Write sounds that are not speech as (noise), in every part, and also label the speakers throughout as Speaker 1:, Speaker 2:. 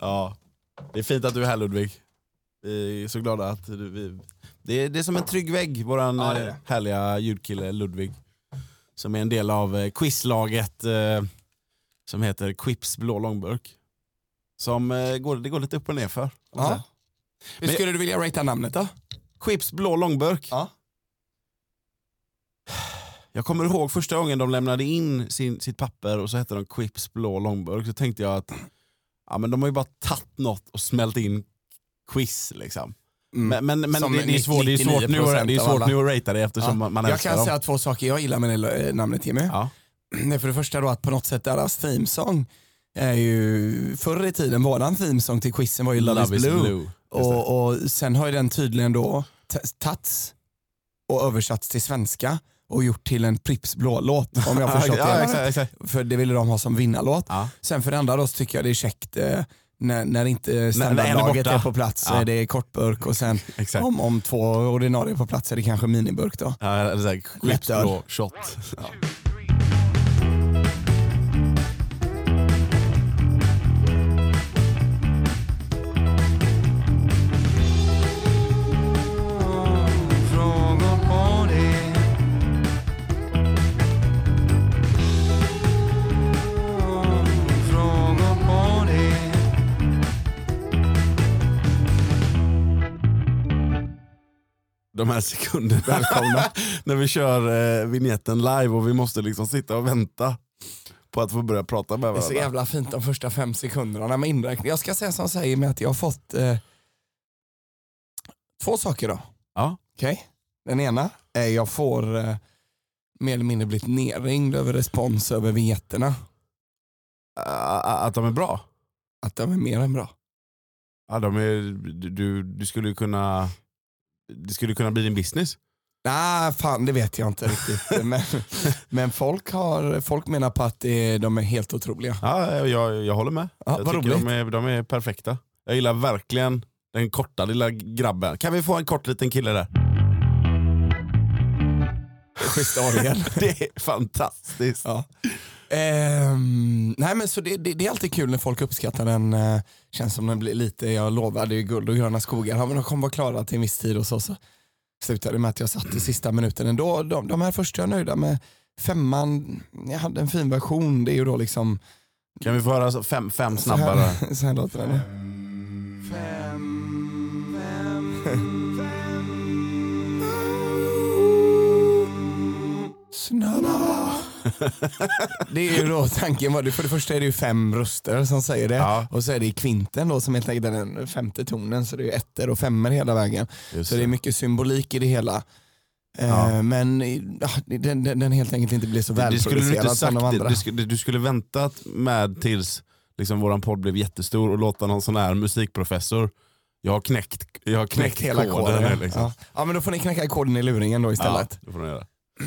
Speaker 1: ja. Det är fint att du är här Ludvig. Vi är så glada att du... Vi... Det, är, det är som en trygg vägg, våran
Speaker 2: Ja, det är
Speaker 1: eh,
Speaker 2: det.
Speaker 1: härliga ljudkille Ludvig. Som är en del av eh, quizlaget eh, som heter Quips blå långburk. Som eh, går, det går lite upp och ner för.
Speaker 2: Ja. Hur
Speaker 1: Men-
Speaker 2: skulle du vilja ratea namnet då?
Speaker 1: Quips blå långburk.
Speaker 2: Ja.
Speaker 1: Jag kommer ihåg första gången de lämnade in sin, sitt papper och så hette de Quips blå långburk. Så tänkte jag att ja, men de har ju bara tagit något och smält in quiz. Liksom.
Speaker 2: Mm.
Speaker 1: Men, men, men
Speaker 2: Som
Speaker 1: det, det är svårt, det är svårt, nu, att- det är
Speaker 2: 99% av alla.
Speaker 1: svårt nu att ratea det
Speaker 2: Ja.
Speaker 1: eftersom man- man
Speaker 2: jag
Speaker 1: älskar
Speaker 2: kan
Speaker 1: dem.
Speaker 2: säga två saker jag gillar med det eh, namnet Jimmy.
Speaker 1: Ja.
Speaker 2: Det är för det första då att på något sätt deras themesång är ju, förr i tiden våran themesång till quizen var ju Love, is Blue.
Speaker 1: Just det.
Speaker 2: Och, och sen har ju den tydligen då t- tagits och översatts till svenska och gjort till en Pripps blå-låt om jag har
Speaker 1: (laughs)
Speaker 2: förstått
Speaker 1: ja,
Speaker 2: det.
Speaker 1: exakt, exakt.
Speaker 2: För det ville de ha som vinnarlåt.
Speaker 1: Ja.
Speaker 2: Sen för det andra då så tycker jag det är käckt eh, när, när inte
Speaker 1: en är
Speaker 2: standardlaget
Speaker 1: borta.
Speaker 2: är på plats.
Speaker 1: Ja.
Speaker 2: eh, Det är kortburk och (laughs) sen
Speaker 1: Exakt.
Speaker 2: om, om två ordinarie är på plats är det kanske miniburk då.
Speaker 1: Ja, eller så här, Quips
Speaker 2: Lättöl.
Speaker 1: blå shot. Ja. de här sekunderna. Välkomna. (laughs) när vi kör eh, vignetten live och vi måste liksom sitta och vänta på att få börja prata med
Speaker 2: Det är så
Speaker 1: varandra.
Speaker 2: jävla fint de första fem sekunderna med inräkning. Jag ska säga som säger med att jag har fått eh, två saker då.
Speaker 1: Ja.
Speaker 2: Okej. Den ena är jag får eh, mer eller mindre blivit nerringd över respons över vinjetterna.
Speaker 1: Ah, ah, Att de är bra.
Speaker 2: Att de är mer än bra.
Speaker 1: Ja, de är, du- du, du skulle ju kunna... Det skulle kunna bli din business.
Speaker 2: Nej, fan det vet jag
Speaker 1: (laughs)
Speaker 2: inte riktigt. men men folk, har, folk menar på att det, de är helt otroliga.
Speaker 1: Ja, jag, jag håller med.
Speaker 2: Ja,
Speaker 1: jag
Speaker 2: vad
Speaker 1: tycker
Speaker 2: roligt.
Speaker 1: de är, de är perfekta. Jag gillar verkligen den korta lilla grabben. Kan vi få en kort liten kille där? (laughs)
Speaker 2: Schyssta orgel.
Speaker 1: Det är fantastiskt.
Speaker 2: (laughs) Ja. Ehm, nej men så det, det, det är alltid kul när folk uppskattar den. eh, känns som den blir lite, jag lovade ju guld och gröna skogar. Ja, men de kommer vara klara till en viss tid och så, så slutade det med att jag satt i sista minuten ändå. De, de här första är jag nöjda med. Femman, jag hade en fin version. Det är ju då liksom...
Speaker 1: Kan vi få höra så- fem, fem
Speaker 2: så här-
Speaker 1: snabbare?
Speaker 2: (laughs) Så här låter den. Snälla. Det är ju då tanken var, det- för det första är det ju fem röster som säger det
Speaker 1: Ja.
Speaker 2: och så är det i kvinten då som helt enkelt är den femte tonen så det är ju ettor och femmer hela vägen.
Speaker 1: Just
Speaker 2: Så det är
Speaker 1: det.
Speaker 2: mycket symbolik i det hela. Eh,
Speaker 1: Ja.
Speaker 2: Men eh, ah, den, den, den helt enkelt inte blir så
Speaker 1: Det skulle du inte
Speaker 2: välproducerad som
Speaker 1: sagt.
Speaker 2: de andra.
Speaker 1: Du skulle, du skulle väntat med tills liksom, våran podd blev jättestor och låta någon sån här musikprofessor, jag har knäckt, jag har knäckt, hela koden. nu, liksom.
Speaker 2: Ja. ja men då får ni knäcka koden i luringen då istället.
Speaker 1: Ja, det får du göra.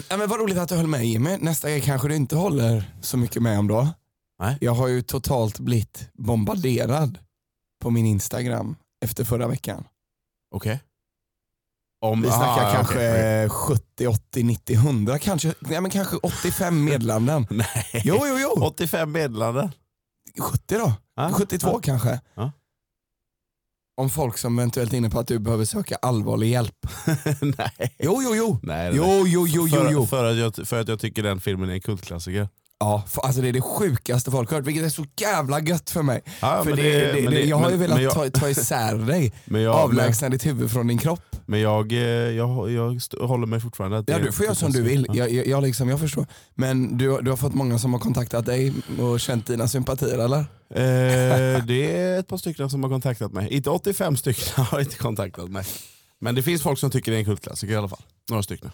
Speaker 2: Ja, men vad roligt att du höll med Jimmy. Nästa grej kanske du inte håller så mycket med om då.
Speaker 1: Nej.
Speaker 2: Jag har ju totalt blivit bombarderad på min Instagram efter förra veckan.
Speaker 1: Okej. Om,
Speaker 2: Vi snackar
Speaker 1: aha, ja,
Speaker 2: kanske
Speaker 1: Ah, okej, (laughs) okej.
Speaker 2: 70, 80, 90, 100, kanske, nej, men kanske 85
Speaker 1: (laughs)
Speaker 2: meddelanden.
Speaker 1: Nej.
Speaker 2: Jo, jo, jo.
Speaker 1: 85 meddelanden. Ah?
Speaker 2: 70 då?
Speaker 1: Ja,
Speaker 2: 72
Speaker 1: ja.
Speaker 2: kanske.
Speaker 1: Ja.
Speaker 2: Om folk som eventuellt är inne på att du behöver söka allvarlig hjälp.
Speaker 1: (laughs) Nej.
Speaker 2: Jo, jo, jo.
Speaker 1: Nej, det-
Speaker 2: Jo, jo, jo, jo,
Speaker 1: För,
Speaker 2: jo.
Speaker 1: för, att jag, för att jag tycker den filmen är en kultklassiker.
Speaker 2: Ja, för, alltså det är det sjukaste folk har hört, vilket är så jävla gött för mig.
Speaker 1: Ah, Ja,
Speaker 2: för
Speaker 1: men
Speaker 2: det,
Speaker 1: det-
Speaker 2: det, det,
Speaker 1: men det-
Speaker 2: jag har ju
Speaker 1: men-
Speaker 2: velat
Speaker 1: men jag-
Speaker 2: ta,
Speaker 1: (laughs)
Speaker 2: ta isär dig,
Speaker 1: Men jag,
Speaker 2: avlägsna ditt huvud från din kropp.
Speaker 1: Men jag, eh, jag, jag st- håller mig fortfarande att det
Speaker 2: Ja,
Speaker 1: är
Speaker 2: du får göra som du
Speaker 1: kultklassiker.
Speaker 2: vill,
Speaker 1: Ja.
Speaker 2: jag, jag, jag, liksom, jag förstår. Men du, du har fått många som har kontaktat dig och känt dina sympatier eller?
Speaker 1: Eh, det är ett par stycken som har kontaktat mig. Inte 85 stycken (laughs) har inte kontaktat mig. Men det finns folk som tycker det är en kultklassiker i alla fall. Några stycken.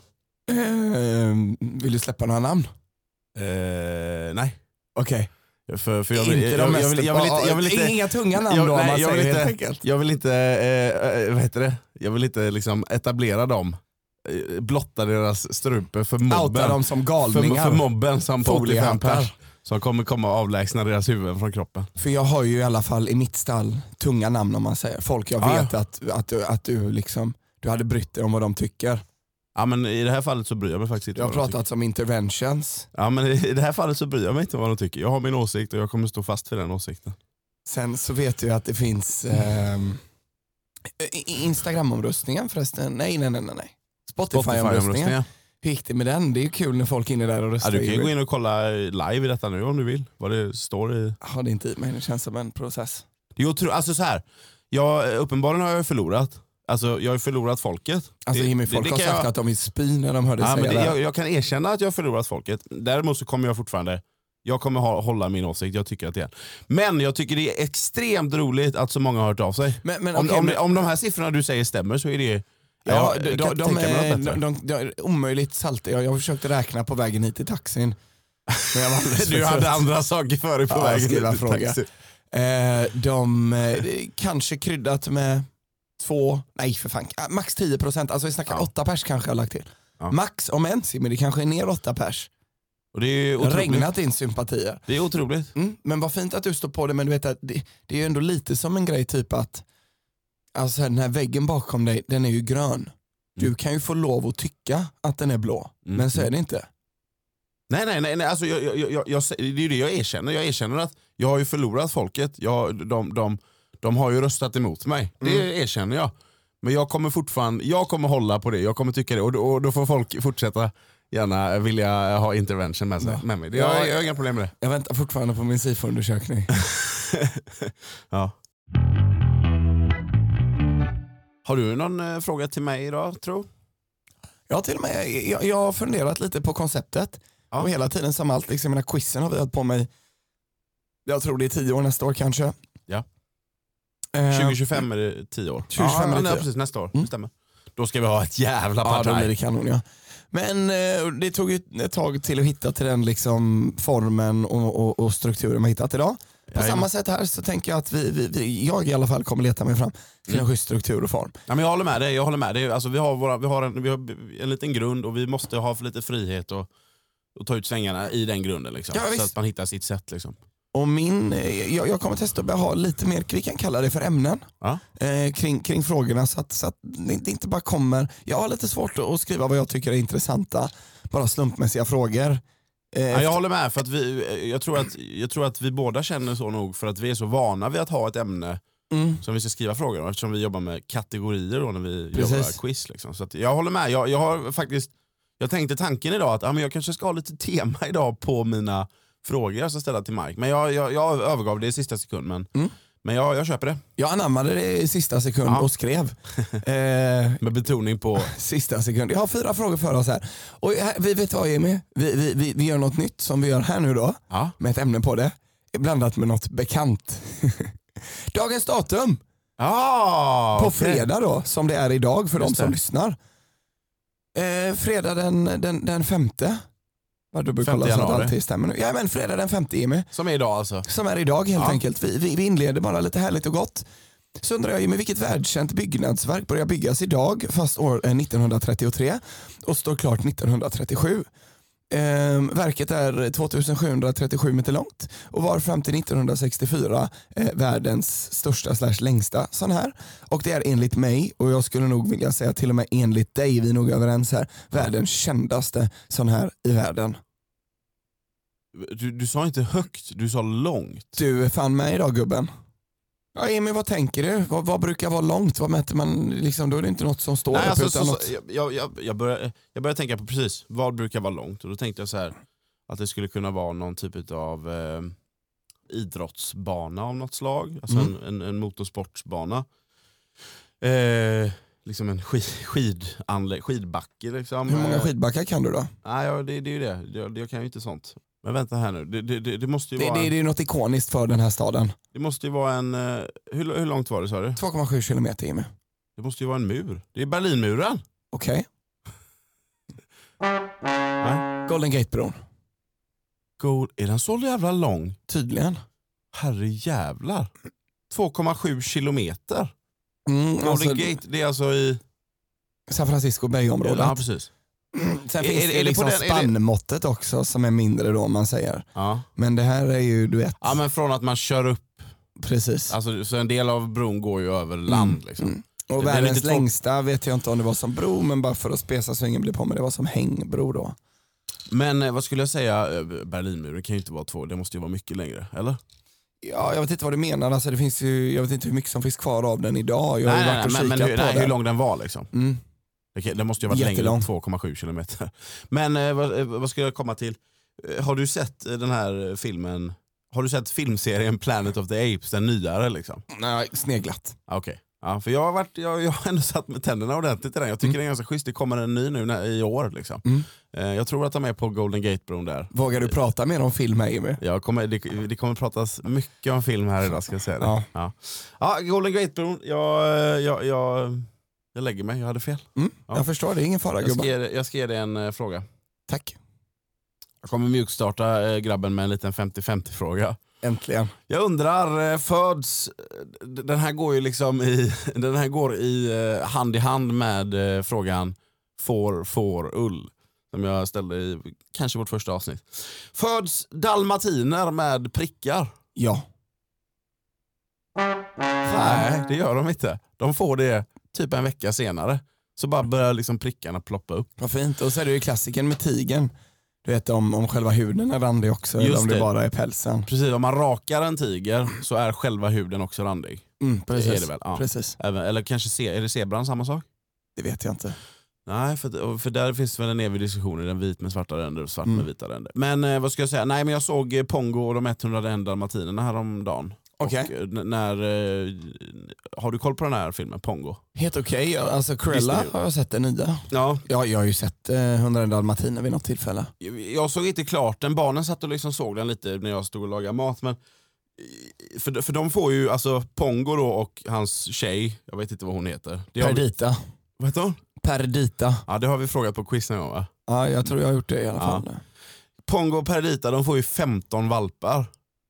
Speaker 2: Ehm, vill du släppa några namn?
Speaker 1: Eh, nej.
Speaker 2: Okej.
Speaker 1: För, för jag, vill,
Speaker 2: Inte
Speaker 1: jag,
Speaker 2: de
Speaker 1: jag, jag,
Speaker 2: mest...
Speaker 1: vill, jag vill inte... Jag vill inte
Speaker 2: Inga tunga namn
Speaker 1: jag,
Speaker 2: då om man
Speaker 1: nej, jag
Speaker 2: säger
Speaker 1: vill inte,
Speaker 2: helt enkelt.
Speaker 1: jag vill inte, eh, eh, vad heter det? Jag vill inte liksom etablera dem, eh, blotta deras strupe för
Speaker 2: Outa
Speaker 1: mobben.
Speaker 2: dem som
Speaker 1: För,
Speaker 2: galningar.
Speaker 1: för mobben som på 85
Speaker 2: Foliehattar.
Speaker 1: pers som kommer komma och avlägsna deras huvuden från kroppen.
Speaker 2: För jag har ju i alla fall i mitt stall tunga namn om man säger. Folk jag
Speaker 1: Ah, Ja,
Speaker 2: vet att, att, du, att du, liksom, du hade brytt dig om vad de tycker.
Speaker 1: Ja, men I det här fallet så bryr jag mig faktiskt inte.
Speaker 2: Det har
Speaker 1: vad de tycker.
Speaker 2: pratats om interventions.
Speaker 1: Ja, men I det här fallet så bryr jag mig inte vad de tycker. Jag har min åsikt och jag kommer stå fast vid den åsikten.
Speaker 2: Sen så vet jag att det finns ehm, i- i- Instagram-omröstningen förresten. Nej, nej, nej. nej, nej. Spotify-omröstningen.
Speaker 1: Spotify-omröstningen.
Speaker 2: Hur gick det med den? Det är ju kul när folk är inne där och
Speaker 1: Ja,
Speaker 2: röstar.
Speaker 1: du kan ju gå in och kolla live i detta nu om du vill. Vad det står i.
Speaker 2: Har det inte i mig, det känns som en process.
Speaker 1: Det är otro... alltså så här. Jag, uppenbarligen har jag förlorat. Alltså jag har förlorat folket.
Speaker 2: Alltså
Speaker 1: Det-
Speaker 2: Jimmy,
Speaker 1: det-
Speaker 2: folk
Speaker 1: det
Speaker 2: har
Speaker 1: kan
Speaker 2: sagt
Speaker 1: jag-
Speaker 2: att de vill spy när de hörde
Speaker 1: Ja,
Speaker 2: säga
Speaker 1: men
Speaker 2: det.
Speaker 1: det, jag, jag kan erkänna att jag har förlorat folket. Däremot så kommer jag fortfarande jag kommer ha, hålla min åsikt. Jag tycker att det är. Men jag tycker det är extremt roligt att så många har hört av sig.
Speaker 2: Men, men,
Speaker 1: om,
Speaker 2: okej,
Speaker 1: om,
Speaker 2: men-
Speaker 1: det- om de här siffrorna du säger stämmer så är det...
Speaker 2: Ja,
Speaker 1: jag kan
Speaker 2: de, de,
Speaker 1: inte
Speaker 2: de,
Speaker 1: tänka mig
Speaker 2: är,
Speaker 1: något
Speaker 2: de,
Speaker 1: bättre.
Speaker 2: de, de är omöjligt saltiga. Jag, jag försökte räkna på vägen hit i taxin. Men jag var
Speaker 1: (laughs)
Speaker 2: alldeles
Speaker 1: Du
Speaker 2: för
Speaker 1: hade
Speaker 2: trött.
Speaker 1: andra saker för dig på
Speaker 2: Ja, jag
Speaker 1: vägen.
Speaker 2: skulle vilja
Speaker 1: hit i
Speaker 2: fråga.
Speaker 1: taxi.
Speaker 2: Eh, de eh, kanske kryddat med två, nej för fan, ah, max 10 procent. Alltså vi snackar
Speaker 1: Ja.
Speaker 2: åtta pers kanske jag har lagt till.
Speaker 1: Ja.
Speaker 2: Max om ens, men det kanske är ner åtta pers.
Speaker 1: Och det är ju
Speaker 2: Det har
Speaker 1: otroligt.
Speaker 2: regnat in sympatier.
Speaker 1: Det är otroligt.
Speaker 2: Mm, men vad fint att du står på det, men du vet att det, det är ju ändå lite som en grej typ att alltså här, den här väggen bakom dig, den är ju grön. Du kan ju få lov att tycka att den är blå,
Speaker 1: Mm.
Speaker 2: men så är det inte.
Speaker 1: Nej, nej, nej. nej. Alltså, jag, jag, jag, jag, det är ju det jag erkänner. Jag erkänner att jag har ju förlorat folket. Jag, de, de, de har ju röstat emot mig. Det
Speaker 2: Mm.
Speaker 1: erkänner jag. Men jag kommer fortfarande jag kommer hålla på det. Jag kommer tycka det. Och, då- och då får folk fortsätta gärna vilja ha intervention med, sig,
Speaker 2: Ja.
Speaker 1: med mig. Det,
Speaker 2: Ja,
Speaker 1: jag, jag har inga problem med det.
Speaker 2: Jag väntar fortfarande på min SIFO-undersökning.
Speaker 1: Ja. Har du någon eh, fråga till mig idag, tro?
Speaker 2: Jag har till och med jag, jag har funderat lite på konceptet.
Speaker 1: Ja.
Speaker 2: Och hela tiden som allt, liksom, mina quizen har vi hållit på mig, jag tror det är tio år nästa år kanske.
Speaker 1: Ja.
Speaker 2: Eh,
Speaker 1: 2025 är det 10 år.
Speaker 2: 2025
Speaker 1: ja,
Speaker 2: är det
Speaker 1: nej,
Speaker 2: tio.
Speaker 1: precis. Nästa år.
Speaker 2: Mm.
Speaker 1: Det stämmer. Då ska vi ha ett jävla
Speaker 2: Ja,
Speaker 1: parti.
Speaker 2: då blir det kanon ja. Men eh, det tog ju ett tag till att hitta till den liksom, formen och, och, och strukturen vi har hittat idag. På
Speaker 1: Jajamän.
Speaker 2: samma sätt här så tänker jag att vi, vi, vi, jag i alla fall kommer leta mig fram till
Speaker 1: Mm.
Speaker 2: en schysst struktur och form.
Speaker 1: Ja, men jag håller med dig. Jag håller med dig. Alltså, vi, har våra, vi, har en, vi har en liten grund och vi måste ha för lite frihet och, och ta ut svängarna i den grunden. Liksom.
Speaker 2: Ja, visst.
Speaker 1: så att man hittar sitt sätt. Liksom.
Speaker 2: Och min, eh, jag, jag kommer testa att börja ha lite mer, vi kan kalla det för ämnen,
Speaker 1: Ja.
Speaker 2: eh, kring, kring frågorna så att, så att det det inte bara kommer. Jag har lite svårt att- att skriva vad jag tycker är intressanta, bara slumpmässiga frågor. Eh,
Speaker 1: Ja, jag håller med. För att vi, jag, tror att, jag tror att vi båda känner så nog för att vi är så vana vid att ha ett ämne
Speaker 2: mm.
Speaker 1: som vi ska skriva frågor om eftersom vi jobbar med kategorier då när vi
Speaker 2: Precis.
Speaker 1: jobbar quiz. Liksom. Så att jag håller med. Jag, jag har faktiskt jag tänkte tanken idag att ja, men jag kanske ska ha lite tema idag på mina frågor jag ska ställa till Mark. Men jag, jag, jag övergav det i sista sekund. Men,
Speaker 2: Mm.
Speaker 1: men jag, jag köper det.
Speaker 2: Jag anammade det i sista sekund
Speaker 1: Ja. (laughs)
Speaker 2: och skrev. Eh,
Speaker 1: Med betoning på
Speaker 2: sista sekund. Jag har fyra frågor för oss här. Och här- vi vet vad Jimmy, vi, vi, vi, vi gör något nytt som vi gör här nu då,
Speaker 1: Ja.
Speaker 2: med ett ämne på det, blandat med något bekant. (laughs) Dagens datum
Speaker 1: Ah,
Speaker 2: på
Speaker 1: okej.
Speaker 2: fredag då, som det är idag för de
Speaker 1: Just
Speaker 2: som
Speaker 1: det.
Speaker 2: lyssnar. Eh, fredag den, den, den femte. Vad du brukar kolla
Speaker 1: Femte
Speaker 2: så att
Speaker 1: januari.
Speaker 2: allting stämmer nu. Ja, men fredag den femte Jimmy,
Speaker 1: Som är idag alltså.
Speaker 2: som är idag helt
Speaker 1: Ja.
Speaker 2: enkelt. Vi, vi, vi inleder bara lite härligt och gott. Så undrar jag Jimmy, vilket världskänt byggnadsverk börjar byggas idag fast år eh, 1933 och står klart 1937? Ehm, verket är 2737 meter långt och var fram till 1964 eh, världens största slash längsta sån här. Och det är enligt mig, och jag skulle nog vilja säga till och med enligt dig, vi är nog överens här, världens kändaste sån här i världen.
Speaker 1: Du, du sa inte högt, du sa långt.
Speaker 2: Du är fan med idag gubben. Ja Emil, vad tänker du? Vad, vad brukar vara långt? Vad mäter man? Liksom, då är det inte något som står
Speaker 1: Nej,
Speaker 2: upp
Speaker 1: alltså,
Speaker 2: utan
Speaker 1: så,
Speaker 2: något.
Speaker 1: så, jag- jag, jag, jag, började, jag började tänka på precis, vad brukar vara långt? Och då tänkte jag så här att det skulle kunna vara någon typ av eh, idrottsbana av något slag. Alltså
Speaker 2: Mm.
Speaker 1: en, en, en motorsportsbana. Eh, liksom en skid, skidanlä- skidbacke. Liksom.
Speaker 2: Hur många
Speaker 1: Eh,
Speaker 2: skidbackar kan du då?
Speaker 1: Nej, ja, det, det är ju det. Jag, jag kan ju inte sånt. Men vänta här nu, det, det, det, det måste ju
Speaker 2: Det,
Speaker 1: vara...
Speaker 2: det, det är något ikoniskt för den här staden.
Speaker 1: Det måste ju vara en... eh, Hur, hur långt var det sa du?
Speaker 2: 2,7 kilometer Emil.
Speaker 1: Det måste ju vara en mur. Det är Berlinmuren.
Speaker 2: Okej. Golden Gate-bron.
Speaker 1: God, är den så jävla lång?
Speaker 2: Tydligen.
Speaker 1: Herre jävlar. 2,7 kilometer.
Speaker 2: Mm,
Speaker 1: Golden
Speaker 2: alltså,
Speaker 1: Gate, det är alltså i...
Speaker 2: San Francisco Bay-området.
Speaker 1: Ja, precis.
Speaker 2: Sen
Speaker 1: Är-
Speaker 2: finns
Speaker 1: är- är
Speaker 2: det
Speaker 1: det
Speaker 2: ju
Speaker 1: på
Speaker 2: liksom
Speaker 1: den- är det-
Speaker 2: spannmåttet också som är mindre då om man säger.
Speaker 1: Ja.
Speaker 2: Men det här är ju, du vet,
Speaker 1: ja, men från att man kör upp...
Speaker 2: precis.
Speaker 1: Alltså, så en del av bron går ju över land. liksom.
Speaker 2: Mm.
Speaker 1: Det
Speaker 2: Och
Speaker 1: blir
Speaker 2: världens
Speaker 1: lite två-
Speaker 2: längsta vet jag inte om det var som bro, men bara för att spesa så ingen blir på mig, det var som hängbro då.
Speaker 1: Men eh, vad skulle jag säga? eh, Berlinmuren kan ju inte vara två, det måste ju vara mycket längre. Eller?
Speaker 2: Ja, jag vet inte vad du menar. Alltså, det finns ju, jag vet inte hur mycket som finns kvar av den idag. Jag har ju varit och
Speaker 1: men, men
Speaker 2: kikat
Speaker 1: hur,
Speaker 2: på
Speaker 1: nej,
Speaker 2: den.
Speaker 1: hur lång den var liksom.
Speaker 2: Mm.
Speaker 1: Okej, Den måste ju ha varit längre än
Speaker 2: Jättelång.
Speaker 1: 2,7 kilometer. (laughs) Men eh, vad, eh, vad ska jag komma till? Eh, Har du sett eh, den här eh, filmen? Har du sett filmserien Planet of the Apes, den nyare liksom?
Speaker 2: Nej, sneglat.
Speaker 1: Ah, Okej. Ja, för jag har, varit, jag, jag har (laughs) ändå satt med tänderna ordentligt i den. Jag tycker den är ganska schysst. Det kommer en ny nu när, i år. Liksom.
Speaker 2: Mm.
Speaker 1: Eh, jag tror att de är på Golden Gate-bron där.
Speaker 2: Vågar du prata mer om film här Jimmy?
Speaker 1: Jag kommer, det, det kommer pratas mycket om film här idag ska jag säga det.
Speaker 2: Ja.
Speaker 1: Ja. Ja, Golden Gate-bron, jag, eh, jag, jag, jag lägger mig. Jag hade fel.
Speaker 2: Mm.
Speaker 1: Ja.
Speaker 2: Jag förstår, det är ingen fara
Speaker 1: Jag ska,
Speaker 2: gubbar.
Speaker 1: ge, dig- jag ska ge dig en eh, fråga.
Speaker 2: Tack.
Speaker 1: Jag kommer mjukstarta eh, grabben med en liten 50-50 fråga.
Speaker 2: Äntligen.
Speaker 1: Jag undrar, eh, föds, d- den här går ju liksom i, (laughs) den här går i eh, hand i hand med eh, frågan får, får, ull. Som jag ställde i kanske vårt första avsnitt. Föds dalmatiner med prickar?
Speaker 2: Ja.
Speaker 1: Nej, det gör de inte. De får det typ en vecka senare. Så bara börjar liksom prickarna ploppa upp.
Speaker 2: Vad fint. Och så är det ju klassiken med tigen. Du vet om, om själva huden är randig också eller
Speaker 1: Just
Speaker 2: om det
Speaker 1: det.
Speaker 2: bara är pälsen. Mm,
Speaker 1: Precis, om man rakar en tiger så är själva huden också randig.
Speaker 2: Mm, precis.
Speaker 1: Det är det väl? Ja.
Speaker 2: Precis.
Speaker 1: Även, eller kanske se, är det zebran samma sak?
Speaker 2: Det vet jag inte.
Speaker 1: Nej, för, att- och för där finns det väl en evig diskussion. Är den vit med svarta ränder och svart
Speaker 2: Mm.
Speaker 1: med vita ränder? Men eh, vad ska jag säga? Nej, men jag såg eh, Pongo och de 101 dalmatinerna häromdagen.
Speaker 2: Okej.
Speaker 1: Och, eh, n- när, eh, har du koll på den här filmen, Pongo?
Speaker 2: Helt okej. Alltså Cruella
Speaker 1: Visst är det.
Speaker 2: har jag sett den nya.
Speaker 1: Ja.
Speaker 2: Ja, jag har ju sett eh, 101 dalmatiner vid något tillfälle.
Speaker 1: Jag såg inte klart den. Barnen satt och liksom såg den lite när jag stod och lagade mat. Men eh, för, för de får ju, alltså Pongo då och hans tjej, jag vet inte vad hon heter. Det har, vi-
Speaker 2: Perdita.
Speaker 1: vad heter hon?
Speaker 2: Perdita.
Speaker 1: Ja, det har vi frågat på quiz någon gång va?
Speaker 2: Ja, jag tror jag har gjort det i alla
Speaker 1: Ja.
Speaker 2: fall.
Speaker 1: Pongo och Perdita de får ju 15 valpar.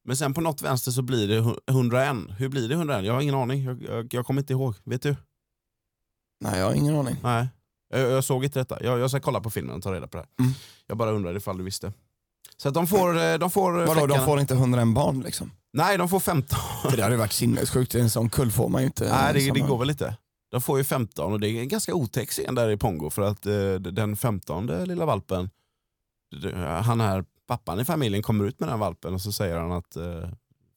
Speaker 1: Men sen på något vänster så blir det hu- 101. Hur blir det 101? Jag har ingen aning. Jag, jag, jag kommer inte ihåg. Vet du?
Speaker 2: Nej, jag har ingen aning.
Speaker 1: Nej. Jag, jag såg inte detta. Jag, jag ska kolla på filmen och ta reda på det här.
Speaker 2: Mm. Jag
Speaker 1: Jag bara undrade ifall du visste. Så att de får... eh, De får eh,
Speaker 2: Vadå, de
Speaker 1: fläckarna.
Speaker 2: får inte 101 barn liksom?
Speaker 1: Nej, de får 15.
Speaker 2: För (laughs) det hade varit sinnessjukt, en sån kull får man ju inte.
Speaker 1: Nej, det,
Speaker 2: liksom.
Speaker 1: det går väl inte. De får ju 15 och det är en ganska otäck scen där i Pongo för att eh, den 15 lilla valpen, d- han här pappan i familjen kommer ut med den här valpen och så säger han att eh,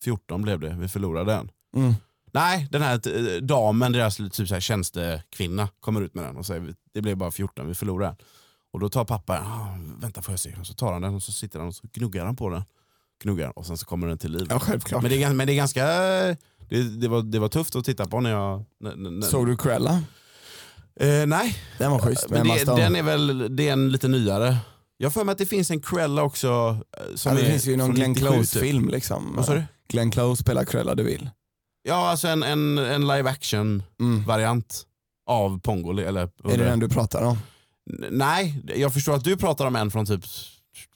Speaker 1: 14 blev det, vi förlorade den.
Speaker 2: Mm.
Speaker 1: Nej, den här eh, damen, deras typ så här tjänstekvinna, kommer ut med den och säger "Vi- det blev bara 14, vi förlorar den. Och då tar pappa, "Ah, vänta får jag se, och så tar han den och så sitter han och så gnuggar han på den. Gnuggar och sen så kommer den till liv.
Speaker 2: Ja, självklart.
Speaker 1: Men, det är, gans- men det är ganska, det, det, var, det var tufft att titta på när jag... När, när, när-
Speaker 2: Såg du Cruella?
Speaker 1: Eh, nej,
Speaker 2: Den var schysst.
Speaker 1: men det, den
Speaker 2: är,
Speaker 1: är väl det är en lite nyare. Jag har för mig att det finns en Cruella också. eh, Som
Speaker 2: ja,
Speaker 1: är
Speaker 2: det finns ju någon
Speaker 1: från
Speaker 2: Glenn
Speaker 1: 97 typ.
Speaker 2: Close-film liksom.
Speaker 1: Vad sa du?
Speaker 2: Glenn Close spelar Cruella de Vil.
Speaker 1: Ja, alltså en, en, en live action
Speaker 2: Mm.
Speaker 1: variant av Pongo. Eller,
Speaker 2: Är det den du pratar om?
Speaker 1: N- Nej, jag förstår att du pratar om en från typ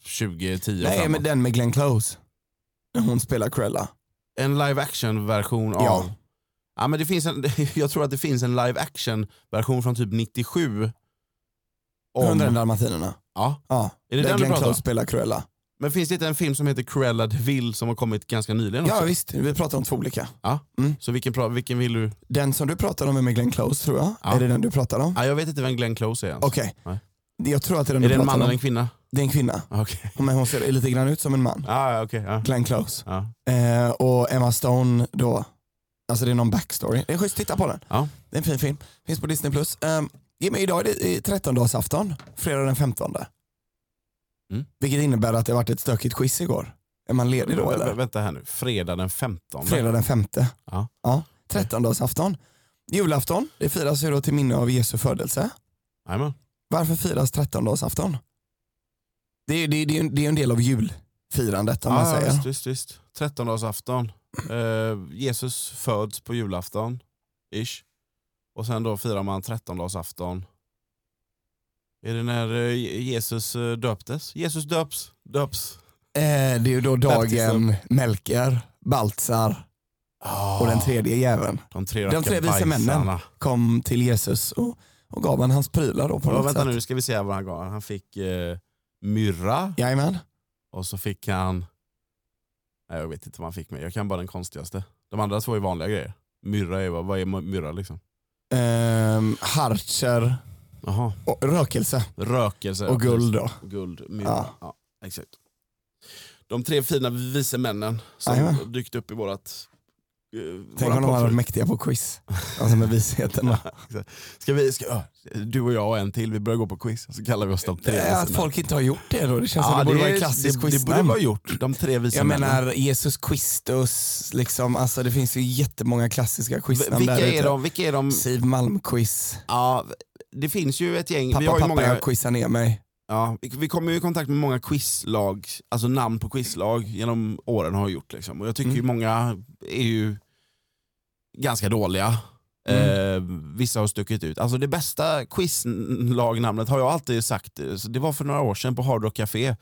Speaker 1: 2010
Speaker 2: Nej,
Speaker 1: framåt.
Speaker 2: men den med Glenn Close. När hon spelar Cruella.
Speaker 1: En live action version av...
Speaker 2: Ja.
Speaker 1: Ja. men det finns en, (laughs) jag tror att det finns en live action version från typ 97. om-
Speaker 2: 101 dalmatinerna.
Speaker 1: Ja,
Speaker 2: Ja,
Speaker 1: är det
Speaker 2: där
Speaker 1: den du
Speaker 2: Glenn
Speaker 1: pratar om?
Speaker 2: Close spelar Cruella.
Speaker 1: Men finns det inte en film som heter Cruella de Vil som har kommit ganska nyligen också?
Speaker 2: Ja visst, vi pratar om två olika.
Speaker 1: Så vilken, pra- vilken vill du?
Speaker 2: Den som du pratar om är med Glenn Close tror jag.
Speaker 1: Ja.
Speaker 2: Är det den du pratar om?
Speaker 1: Ah, jag vet inte vem Glenn Close är ens.
Speaker 2: Okej.
Speaker 1: Nej.
Speaker 2: Jag tror att det är den
Speaker 1: Är
Speaker 2: du
Speaker 1: det en
Speaker 2: pratar
Speaker 1: man eller
Speaker 2: om.
Speaker 1: en kvinna?
Speaker 2: Det är en kvinna.
Speaker 1: Ah, Okej.
Speaker 2: Men hon ser lite grann ut som en man.
Speaker 1: Ah, ja, okej, ja.
Speaker 2: Glenn Close.
Speaker 1: Ja.
Speaker 2: Eh, och Emma Stone då. Alltså det är någon backstory. Det är schysst, titta på den.
Speaker 1: Ja.
Speaker 2: Det är en fin film. Finns på Disney+. Plus. Um, idag är det eh, 13-dagsafton, fredag den 15.
Speaker 1: Mm.
Speaker 2: Vilket innebär att det har varit ett stökigt quiz igår. Är man ledig då
Speaker 1: Vä-
Speaker 2: eller?
Speaker 1: Vänta här nu, fredag den 15.
Speaker 2: Fredag den 5.
Speaker 1: Ja.
Speaker 2: ja. 13-dagsafton. Julafton, det firas ju då till minne av Jesu födelse.
Speaker 1: Jajamän.
Speaker 2: Varför firas 13-dagsafton? Det, är- det, är- det, är ju- det är ju en del av julfirandet om man
Speaker 1: Ah,
Speaker 2: säger.
Speaker 1: visst, visst, visst. 13-dagsafton. Eh, Jesus föds på julafton. Ish. Och sen då firar man 13-dagsafton. Är det när eh, Jesus eh, döptes? Jesus döps. Döps.
Speaker 2: Eh, det är ju då dagen
Speaker 1: Baptism.
Speaker 2: Melker, Baltzar Ah, och
Speaker 1: Ah.
Speaker 2: den tredje jäveln
Speaker 1: De tre,
Speaker 2: De tre
Speaker 1: rackarn
Speaker 2: vise männen.
Speaker 1: bajsarna.
Speaker 2: kom till Jesus och, och gav han hans prylar då på
Speaker 1: Ja,
Speaker 2: något
Speaker 1: vänta
Speaker 2: sätt.
Speaker 1: nu, nu ska vi se vad han gav. Han fick eh, myrra
Speaker 2: Jajamän.
Speaker 1: och så fick han... Nej, jag vet inte vad han fick med. Jag kan bara den konstigaste. De andra två är vanliga grejer. Myrra är, vad vad är myrra liksom?
Speaker 2: Ehm, harcher
Speaker 1: Jaha,
Speaker 2: och rökelse
Speaker 1: rökelse.
Speaker 2: och
Speaker 1: ja, precis.
Speaker 2: guld då.
Speaker 1: Guld, myrra.
Speaker 2: Ja.
Speaker 1: Ja. exakt. de tre fina vise männen som
Speaker 2: Jajamän.
Speaker 1: dykt upp i vårat... eh,
Speaker 2: Tänk
Speaker 1: våran
Speaker 2: om de hade
Speaker 1: poddfru-
Speaker 2: varit mäktiga på quiz. Alltså med
Speaker 1: (laughs)
Speaker 2: visheten. va?
Speaker 1: Ska vi, ska, ja, du och jag och en till, vi börjar gå på quiz. Så kallar vi oss de tre
Speaker 2: Det är Att
Speaker 1: männen.
Speaker 2: folk inte har gjort det då. Det känns
Speaker 1: Ja,
Speaker 2: som det borde vara en
Speaker 1: är-
Speaker 2: klassisk
Speaker 1: det, det borde
Speaker 2: quiznamn.
Speaker 1: vara gjort, de tre vise
Speaker 2: Jag
Speaker 1: männen.
Speaker 2: menar Jesus Christus, liksom, alltså det finns ju jättemånga klassiska
Speaker 1: V-
Speaker 2: quiznamn
Speaker 1: vilka,
Speaker 2: där
Speaker 1: är
Speaker 2: ute.
Speaker 1: de, vilka är de?
Speaker 2: Siv Malm-quiz.
Speaker 1: Ja, det finns ju ett gäng. vi,
Speaker 2: Pappa,
Speaker 1: har ju
Speaker 2: pappa,
Speaker 1: många,
Speaker 2: jag quizar ner mig.
Speaker 1: ja, vi, vi kommer ju i kontakt med många quizlag, alltså namn på quizlag genom åren har gjort. Liksom. Och jag tycker
Speaker 2: Mm.
Speaker 1: ju många är ju ganska dåliga.
Speaker 2: Mm.
Speaker 1: Eh, vissa har stuckit ut. Alltså det bästa quizlagnamnet har jag alltid sagt, eh, så det var för några år sedan på Hard Rock Café.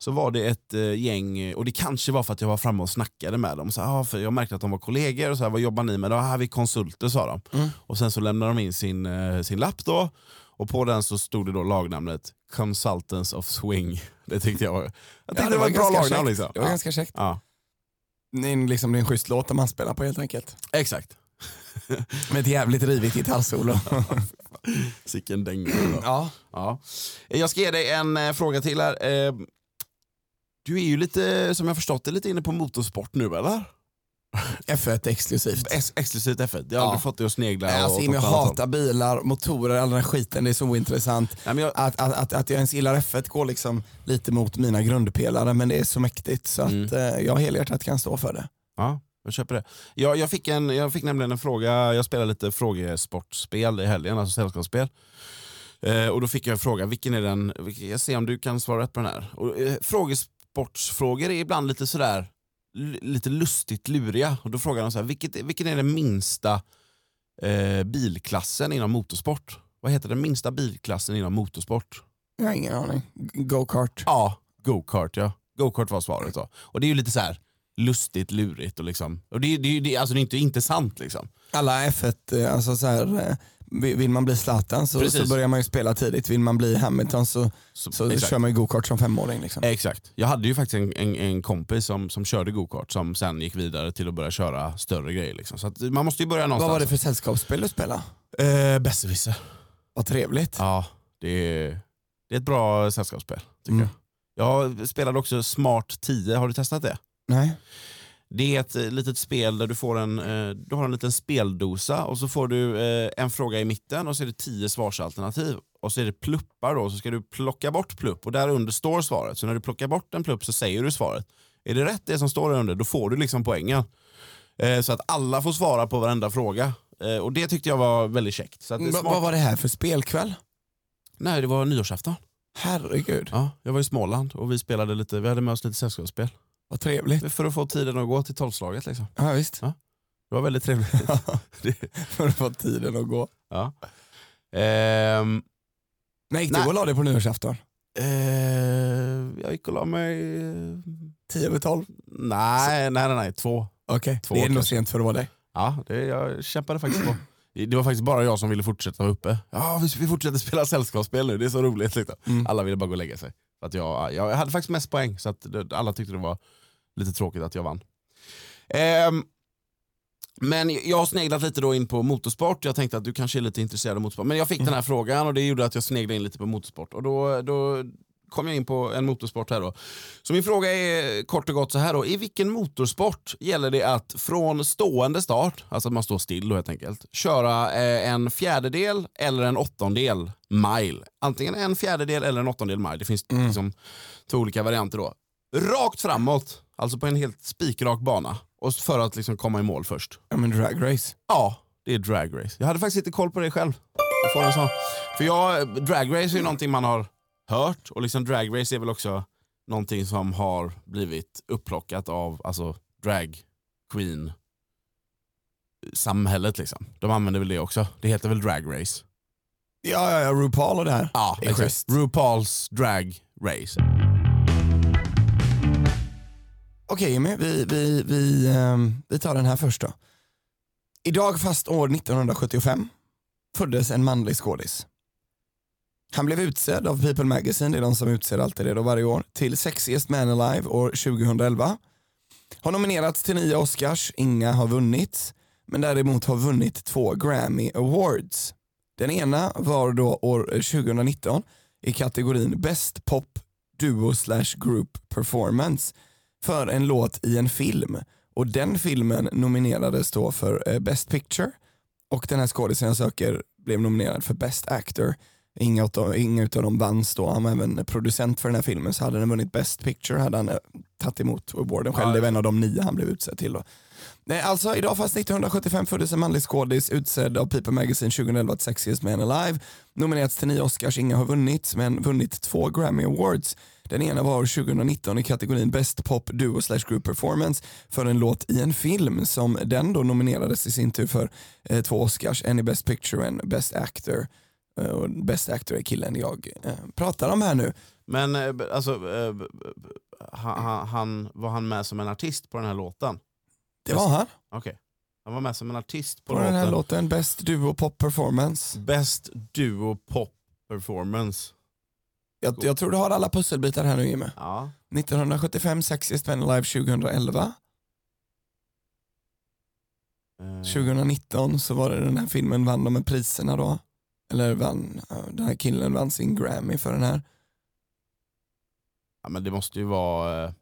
Speaker 1: Så var det ett eh, gäng, eh, och det kanske var för att jag var framme och snackade med dem. Så, ah, för jag märkte att de var kollegor, och så här, vad jobbar ni med? då? Ah, vi är konsulter sa de.
Speaker 2: Mm.
Speaker 1: Och sen så lämnade de in sin, eh, sin lapp då, och på den så stod det då lagnamnet Consultants of Swing. (laughs) Det tyckte jag var, jag tyckte det var ett bra
Speaker 2: ganska
Speaker 1: lagnamn.
Speaker 2: käckt.
Speaker 1: Liksom.
Speaker 2: Det var
Speaker 1: Ja.
Speaker 2: ganska käckt.
Speaker 1: Ja.
Speaker 2: Det är, en, liksom, det är en schysst låt man spelar på helt enkelt.
Speaker 1: Exakt.
Speaker 2: Med ett jävligt rivigt gitarrsolo.
Speaker 1: Sicken dänga.
Speaker 2: (clears throat)
Speaker 1: då.
Speaker 2: (laughs) ja.
Speaker 1: Ja. Jag ska ge dig en eh, fråga till här. Eh, Du är ju lite, som jag förstått det, lite inne på motorsport nu eller?
Speaker 2: F1 exklusivt.
Speaker 1: Ex- exklusivt F1, jag har
Speaker 2: Ja.
Speaker 1: aldrig fått dig att snegla.
Speaker 2: Nej, alltså,
Speaker 1: åt
Speaker 2: Jimmy, jag
Speaker 1: något annat håll.
Speaker 2: hatar bilar, motorer, all den här skiten. Det är så ointressant.
Speaker 1: Nej, men jag,
Speaker 2: Att, att, att, att jag ens gillar F1 går liksom lite mot mina grundpelare men det är så mäktigt så att
Speaker 1: Mm.
Speaker 2: eh, jag helhjärtat kan stå för det.
Speaker 1: ja, jag köper det. Jag, jag, fick en, jag fick nämligen en fråga, jag spelar lite frågesportspel i helgen, alltså sällskapsspel. Eh, och då fick jag en fråga, vilken är den, vilken- jag ser om du kan svara rätt på den här. Och, eh, frågesportsfrågor är ibland lite sådär, l- lite lustigt luriga. Och då frågar de så här, vilket, vilken är den minsta eh, bilklassen inom motorsport? Vad heter den minsta bilklassen inom motorsport?
Speaker 2: Jag har ingen aning. Go-kart.
Speaker 1: Ja, go-kart ja. Go-kart var svaret då. Och det är ju lite så här lustigt lurigt och liksom, och det, är- det, är ju- det, är- alltså det är inte intressant liksom.
Speaker 2: Alla F1, eh, alltså så här, eh, vill vill man bli Zlatan så,
Speaker 1: Precis.
Speaker 2: så börjar man ju spela tidigt. Vill man bli Hamilton så, så
Speaker 1: exakt.
Speaker 2: kör man ju go-kart som femåring. Liksom.
Speaker 1: Exakt. Jag hade ju faktiskt en, en, en kompis som, som körde go-kart som sen gick vidare till att börja köra större grejer. Liksom. Så att man måste ju börja
Speaker 2: Vad
Speaker 1: någonstans.
Speaker 2: var det för sällskapsspel du spelade?
Speaker 1: för... Eh, Besserwisser.
Speaker 2: Vad trevligt.
Speaker 1: Ja, det är, det är ett bra sällskapsspel tycker
Speaker 2: Mm.
Speaker 1: jag. Jag spelade också Smart 10, har du testat det?
Speaker 2: Nej.
Speaker 1: Det är ett eh, litet spel där du, får en, eh, du har en liten speldosa och så får du eh, en fråga i mitten och så är det tio svarsalternativ. Och så är det pluppar då, så ska du plocka bort plupp och där under står svaret. Så när du plockar bort en plupp så säger du svaret. Är det rätt det som står där under, då får du liksom poängen. Eh, så att alla får svara på varenda fråga. Eh, och det tyckte jag var väldigt käckt. Så att det är
Speaker 2: Va-
Speaker 1: smart.
Speaker 2: Vad var det här för spelkväll?
Speaker 1: Nej, det var nyårsafton.
Speaker 2: Herregud,
Speaker 1: Ja, jag var i Småland och vi spelade lite, vi hade med oss lite sällskapsspel.
Speaker 2: vad trevligt.
Speaker 1: För att få tiden att gå till tolvslaget liksom.
Speaker 2: Ja visst. (laughs)
Speaker 1: Det var väldigt trevligt. Det-
Speaker 2: För att få tiden att gå.
Speaker 1: Ja. (laughs) Ehm,
Speaker 2: Nej, gick du
Speaker 1: Nej.
Speaker 2: och la dig på nyårsafton?
Speaker 1: eh, jag gick och la mig... eh,
Speaker 2: 10 över 12.
Speaker 1: Nej, nej, nej, nej, två.
Speaker 2: Okej,
Speaker 1: Två
Speaker 2: det är nog
Speaker 1: kanske.
Speaker 2: sent för att vara dig.
Speaker 1: Ja, det, jag kämpade faktiskt på. Det var faktiskt bara jag som ville fortsätta vara uppe. Ja, vi, vi fortsätter spela sällskapsspel nu, det är så roligt. Liksom.
Speaker 2: Mm.
Speaker 1: Alla ville bara gå och lägga sig. Så att jag, jag hade faktiskt mest poäng, så att det, alla tyckte det var lite tråkigt att jag vann. Ehm, men jag har sneglat lite då in på motorsport. Jag tänkte att du kanske är lite intresserad av motorsport. Men jag fick den här frågan och det gjorde att jag sneglade in lite på motorsport. Och då, då kom jag in på en motorsport här då. Så min fråga är kort och gott så här då. I vilken motorsport gäller det att från stående start, alltså att man står still då helt enkelt, köra eh, en fjärdedel eller en åttondel mile? Antingen en fjärdedel eller en åttondel mile. Det finns
Speaker 2: Mm.
Speaker 1: liksom två olika varianter då. Rakt framåt, alltså på en helt spikrak bana. Och för att liksom komma i mål först.
Speaker 2: Ja men drag race.
Speaker 1: Ja, det är drag race. Jag hade faktiskt inte koll på det själv. Jag får en sån. För jag, drag race är ju någonting man har hört och liksom drag race är väl också någonting som har blivit upplockat av alltså drag queen samhället liksom. De använder väl det också. Det heter väl drag race.
Speaker 2: Ja, ja, ja, RuPaul och det här.
Speaker 1: Ja,
Speaker 2: Det är
Speaker 1: exakt.
Speaker 2: schysst.
Speaker 1: RuPaul's drag race.
Speaker 2: Okej Jimmy, vi, vi, vi, ehm, vi tar den här först då. Idag fast år 1975 föddes en manlig skådis. Han blev utsedd av People Magazine, det är de som utser alltid det då varje år, till Sexiest Man Alive år 2011. Har nominerats till nio Oscars, inga har vunnits, men däremot har vunnit två Grammy Awards. Den ena var då år 2019 i kategorin Best Pop Duo slash Group Performance för en låt i en film. Och den filmen nominerades då för eh, Best Picture och den här skådisen jag söker blev nominerad för Best Actor. Inga utav, inga utav dem vanns då. Han var även producent för den här filmen så hade den vunnit Best Picture hade han eh, tagit emot awarden själv.
Speaker 1: Ja.
Speaker 2: Det var en av de nio han blev utsedd till då. Nej, alltså idag fast 1975 föddes en manlig skådis utsedd av People Magazine 2011 till Sexiest Man Alive. Nominerats till nio Oscars, inga har vunnit, men vunnit två Grammy Awards. Den ena var 2019 i kategorin Best Pop Duo slash Group Performance för en låt i en film som den då nominerades i sin tur för eh, två Oscars, en i Best Picture och en Best Actor. Eh, och Best Actor är killen jag eh, pratar om här nu.
Speaker 1: Men eh, b- alltså, eh, b- b- han, han- han, var han med som en artist på den här låten?
Speaker 2: Det var han
Speaker 1: Okej. Han var med som en artist på,
Speaker 2: på den
Speaker 1: låten.
Speaker 2: här låten, Best Duo Pop Performance.
Speaker 1: Best duo pop performance.
Speaker 2: Jag, jag tror du har alla pusselbitar här nu Jimmy.
Speaker 1: Ja.
Speaker 2: 1975 Sexiest Man Alive 2011.
Speaker 1: Eh,
Speaker 2: 2019 så var det den här filmen vann de med priserna då. Eller vann, ja, den här killen vann sin Grammy för den här.
Speaker 1: ja, men det måste ju vara... eh,